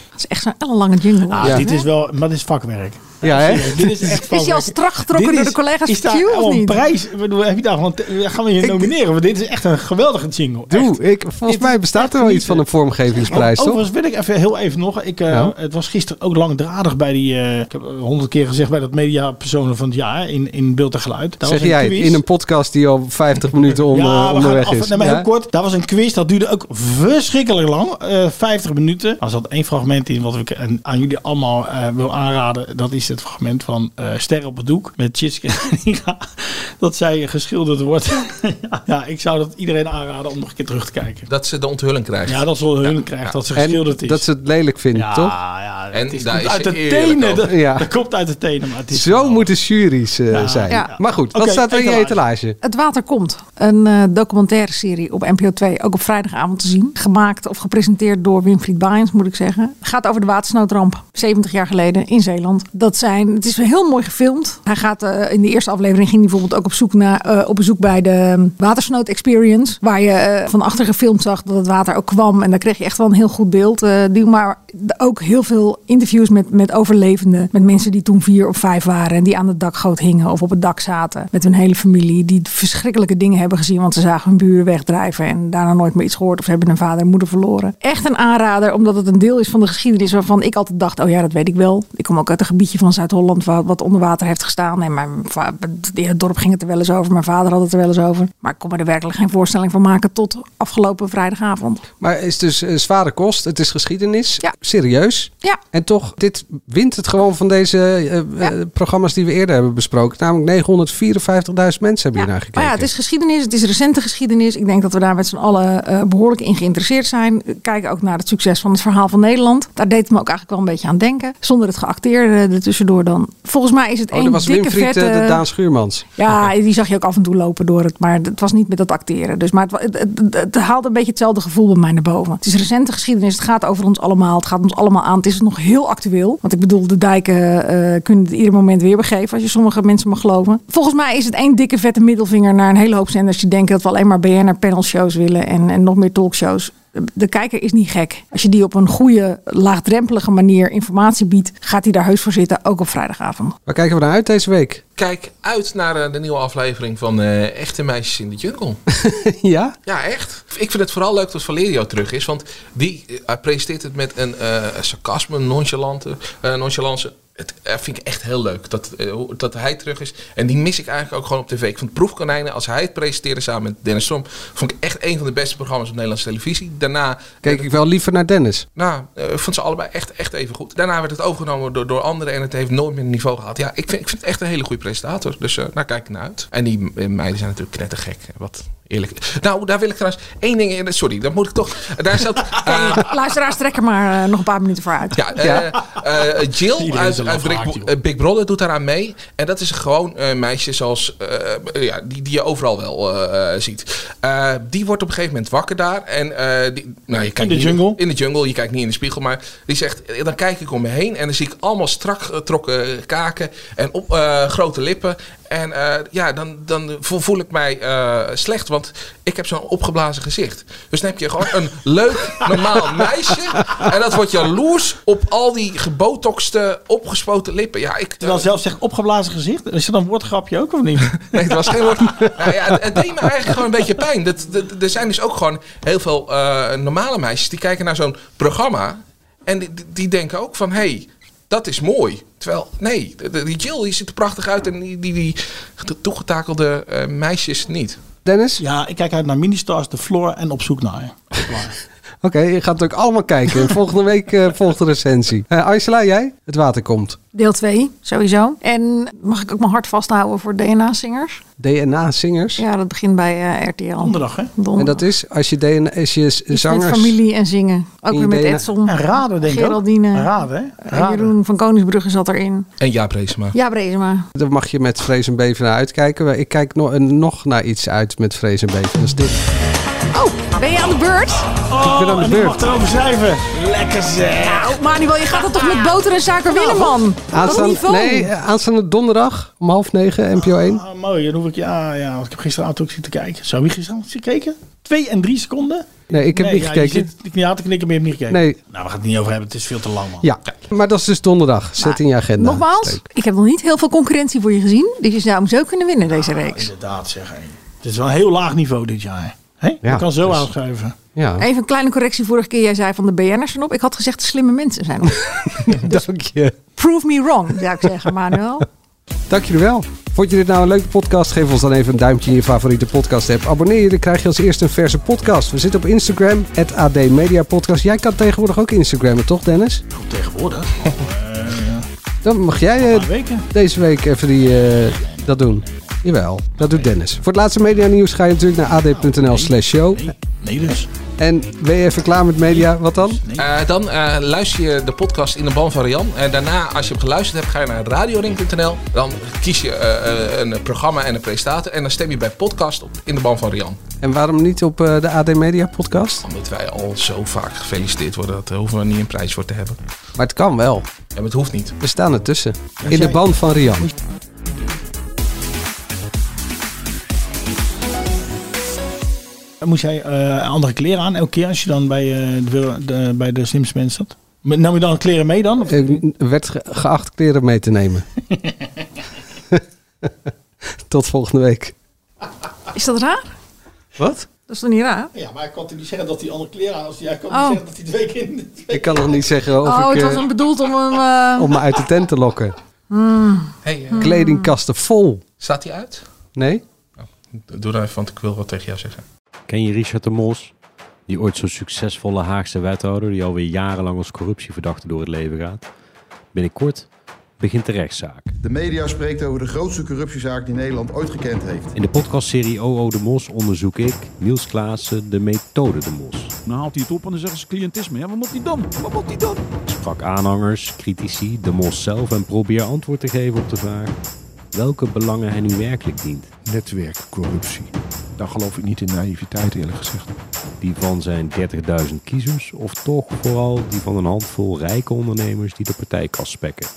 Dat is echt zo'n ellenlange jungle. Ah, Dit is wel, maar dit is vakwerk. Ja, hè? Dit is echt Is hij al strak getrokken door de collega's is van daar Q of al een niet? prijs. Ik bedoel, Heb je daar gewoon te- gaan we je nomineren? Want dit is echt een geweldige jingle. Doe, ik, volgens mij bestaat er wel iets van een vormgevingsprijs, Over- Oh, toch? Nou? Overigens wil ik even heel even nog. Ik, eh, Ja. Het was gisteren ook langdradig bij die. eh, ik heb honderd keer gezegd bij dat mediapersonen van het jaar in, in beeld en geluid. Daar Zeg was een jij het, quiz. in een podcast die al 50 minuten onder, ja, we gaan onderweg af, is. nee, maar Ja? heel kort. Daar was een quiz, dat duurde ook verschrikkelijk lang. eh, 50 minuten. Er zat één fragment in wat ik aan, aan jullie allemaal eh, wil aanraden. Dat is het fragment van eh Sterren op het Doek met Chitske en Nina. [laughs] Dat zij geschilderd wordt. [laughs] ja, ik zou dat iedereen aanraden om nog een keer terug te kijken. Dat ze de onthulling krijgt. Ja, dat ze hun krijgt, dat ze En geschilderd is. dat ze het lelijk vindt, Ja, toch? ja. En Het is, daar komt is uit ze de eerlijk tenen. over. Dat, Ja. dat komt uit de tenen, maar het is... Zo moeten juries eh, zijn. Ja. Maar goed, wat Oké, staat er in je etalage. etalage? Het Water Komt. Een eh, documentaire serie op NPO 2. Ook op vrijdagavond te zien. Gemaakt of gepresenteerd door Winfried Baens, moet ik zeggen. Gaat over de watersnoodramp. 70 jaar geleden in Zeeland. Dat zijn, het is heel mooi gefilmd. Hij gaat eh, in de eerste aflevering ging hij bijvoorbeeld ook op, zoek naar, eh, op bezoek bij de ehm, watersnood experience. Waar je eh, van achter gefilmd zag dat het water ook kwam. En daar kreeg je echt wel een heel goed beeld. eh, die, maar d- ook heel veel interviews met, met overlevenden. Met mensen die toen vier of vijf waren. En die aan de dakgoot hingen of op het dak zaten. Met hun hele familie. Die verschrikkelijke dingen hebben gezien. Want ze zagen hun buren wegdrijven. En daarna nooit meer iets gehoord. Of ze hebben hun vader en moeder verloren. Echt een aanrader. Omdat het een deel is van de geschiedenis. Waarvan ik altijd dacht. Oh ja, dat weet ik wel. Ik kom ook uit een gebiedje van Zuid-Holland. wa- Wat onder water heeft gestaan. En mijn va- in het dorp ging het er wel eens over. Mijn vader had het er wel eens over. Maar ik kon me er werkelijk geen voorstelling van maken. Tot afgelopen vrijdagavond. Maar het is dus eh, zware kost, het is geschiedenis. Serieus. Ja. En toch, dit wint het gewoon van deze eh, eh, programma's die we eerder hebben besproken. Namelijk 954.000 mensen hebben hier naar gekeken. Oh, Maar ja, het is geschiedenis, het is recente geschiedenis. Ik denk dat we daar met z'n allen eh, behoorlijk in geïnteresseerd zijn. Kijk ook naar het succes van het verhaal van Nederland. Daar deed het me ook eigenlijk wel een beetje aan denken. Zonder het geacteerde er tussendoor dan. Volgens mij is het oh, één dat was dikke Winfried eh, vette... de Daan Schuurmans. Ja, die zag je ook af en toe lopen door het. Maar het was niet met dat acteren. Dus, maar het, wa- het, het- het haalde een beetje hetzelfde gevoel bij mij naar boven. Het is recente geschiedenis. Het gaat over ons allemaal. Het gaat ons allemaal aan. Het is nog heel actueel. Want ik bedoel, de dijken eh, kunnen het ieder moment weer begeven. Als je sommige mensen mag geloven. Volgens mij is het één dikke vette middelvinger naar een hele hoop zenders. Die denken dat we alleen maar BNR panelshows willen. En, en nog meer talkshows. De kijker is niet gek. Als je die op een goede, laagdrempelige manier informatie biedt, gaat hij daar heus voor zitten, ook op vrijdagavond. Waar kijken we naar uit deze week? [laughs] Kijk uit naar eh, de nieuwe aflevering van eh, Echte Meisjes in de Jungle. ja? Ja, echt. Ik vind het vooral leuk dat Valerio terug is. Want die eh, presenteert het met een eh, sarcasme, nonchalante, eh, nonchalance. Het eh, vind ik echt heel leuk dat, eh, hoe- dat hij terug is. En die mis ik eigenlijk ook gewoon op tv. Ik vond Proefkonijnen, als hij het presenteerde samen met Dennis Strom... vond ik echt een van de beste programma's op Nederlandse televisie. Daarna Kijk ik wel liever naar Dennis. nou, eh, ik vond ze allebei echt, echt even goed. Daarna werd het overgenomen door, door anderen en het heeft nooit meer een niveau gehaald. Ja, ik vind, ik vind het echt een hele goede presentator. Dus eh daar kijk ik naar uit. En die eh, meiden zijn natuurlijk knettergek. Wat eerlijk. Nou, daar wil ik trouwens één ding in. Sorry, dat moet ik toch. Daar zat. eh, Luisteraars, trek er maar eh, nog een paar minuten voor uit. ja, eh, eh, Jill uit, uit Big, eh, Big Brother doet daaraan mee. En dat is gewoon een meisje zoals, eh, eh, ja, die, die je overal wel eh, eh, ziet. Eh, die wordt op een gegeven moment wakker daar. En, eh, die, nou, je kijkt de niet- jungle? In de jungle, je kijkt niet in de spiegel. Maar die zegt, eh, dan kijk ik om me heen en dan zie ik allemaal strak getrokken kaken en op, eh, grote lippen. En eh, ja, dan, dan voel, voel ik mij eh, slecht, want ik heb zo'n opgeblazen gezicht. Dus dan heb je gewoon een [laughs] leuk, normaal meisje. En dat wordt jaloers op al die gebotoxte, opgespoten lippen. Ja, ik, eh, Terwijl zelf zegt opgeblazen gezicht. Is dat een woordgrapje ook of niet? Nee, het was geen woord. [laughs] Nou ja, het, het deed me eigenlijk gewoon een beetje pijn. Dat, dat- er zijn dus ook gewoon heel veel eh, normale meisjes die kijken naar zo'n programma. En die, die- die denken ook van, hé, hey, dat is mooi. Terwijl, nee, de- de- die Jill die ziet er prachtig uit en die, die, die toegetakelde eh, meisjes niet. [laughs] Dennis? Ja, ik kijk uit naar Ministars, de Floor en op zoek naar je. Oké, je gaat het ook allemaal [laughs] kijken. Volgende week eh, volgt de recensie. Eh Angela, jij? Het water komt. Deel 2, sowieso. En mag ik ook mijn hart vasthouden voor DNA-zingers? DNA-zingers. Ja, dat begint bij eh, RTL. Donderdag, hè? En dat is als je, DNA, als je z- Met zangers... familie en zingen. Ook In weer met DNA. Edson. En Raden, denk ik ook. Geraldine. Raden, Eh, Jeroen van Koningsbrugge zat erin. En Jaap Reesema. Ja, Brezema. Daar mag je met Vrees en Beven naar uitkijken. Ik kijk no- eh, nog naar iets uit met Vrees en Beven. Dat is dit. Oh, ben je aan de beurt? ik Oh, ben aan de beurt. Erover schrijven. Lekker zeg. Nou, Manuel, je gaat het toch met boter en suiker winnen, man? Aanstaande- niveau. Nee, eh, aanstaande donderdag om half negen, NPO 1. Ah, mooi, dan hoef ik... Ja, ja, want ik heb gisteravond ook zitten kijken. Zou je gisteravond zitten kijken? Twee en drie seconden? Nee, ik heb niet ja, je gekeken. zit- Ik had te knikken, maar je hebt niet gekeken. Nee. Nou, we gaan het niet over hebben. Het is veel te lang, man. Ja, maar dat is dus donderdag. Zet in je agenda. Nogmaals, ik heb nog niet heel veel concurrentie voor je gezien. Dus je zou hem zo kunnen winnen deze Nou, reeks. inderdaad, zeg. hé. Het is wel een heel laag niveau dit jaar. Hè? Ja, ik kan zo dus- aanschuiven. Ja, Even een kleine correctie. Vorige keer jij zei van de BN'ers erop. Ik had gezegd de slimme mensen zijn op. dank je. Prove me wrong, zou ik zeggen, Manuel. Dank jullie wel. Vond je dit nou een leuke podcast? Geef ons dan even een duimpje in je favoriete podcast app. Abonneer je, dan krijg je als eerste een verse podcast. We zitten op Instagram, het AD Media Podcast. Jij kan tegenwoordig ook Instagrammen, toch Dennis? Goed tegenwoordig. Oh, eh, ja. Dan mag jij eh, paar weken. deze week even die, eh, dat doen. Jawel, dat doet Dennis. Voor het laatste media nieuws ga je natuurlijk naar ad.nl slash show. Nee dus. En ben je even klaar met media? Wat dan? Eh, dan eh, luister je de podcast in de ban van Rian. En daarna, als je hem geluisterd hebt, ga je naar radioring.nl. Dan kies je eh, eh, een programma en een presentator. En dan stem je bij podcast op in de ban van Rian. En waarom niet op eh, de AD Media Podcast? Omdat wij al zo vaak gefeliciteerd worden. Dat hoeven we niet een prijs voor te hebben. Maar het kan wel. En het hoeft niet. We staan ertussen. In Ja, de jij- band van Rian. Dan moest jij eh, andere kleren aan elke keer als je dan bij, eh, de, wil- de- bij de slimste mensen zat? Maar Nam je dan kleren mee dan? Of- Ik Eh, werd ge- geacht kleren mee te nemen. Tot volgende week. [laughs] Is dat raar? Wat? Dat is toch niet raar? Ja, maar ik kan toch niet zeggen dat hij andere kleren aan als Jij kan niet Oh. zeggen dat hij twee keer in Ik kan nog niet zeggen of Oh, ik, het eh, was een bedoeld om hem... eh, om me uit de tent te lokken. hmm. Hey, eh, Kledingkasten vol. Staat hij uit? Nee? Doe dan even, want ik wil wat tegen jou zeggen. Ken je Richard de Mos? Die ooit zo'n succesvolle Haagse wethouder, die alweer jarenlang als corruptieverdachte door het leven gaat. Binnenkort begint de rechtszaak. De media spreekt over de grootste corruptiezaak die Nederland ooit gekend heeft. In de podcastserie OO de Mos onderzoek ik, Niels Klaassen, de methode de Mos. Dan haalt hij het op en dan zeggen ze cliëntisme. Ja, wat moet hij dan? Wat moet hij dan? Sprak aanhangers, critici, de Mos zelf en probeer antwoord te geven op de vraag welke belangen hij nu werkelijk dient. Netwerkcorruptie. Daar geloof ik niet in naïviteit eerlijk gezegd. Die van zijn 30.000 kiezers of toch vooral die van een handvol rijke ondernemers die de partijkast spekken.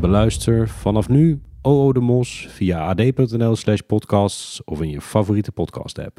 Beluister vanaf nu OO de Mos via ad.nl slash podcasts of in je favoriete podcast app.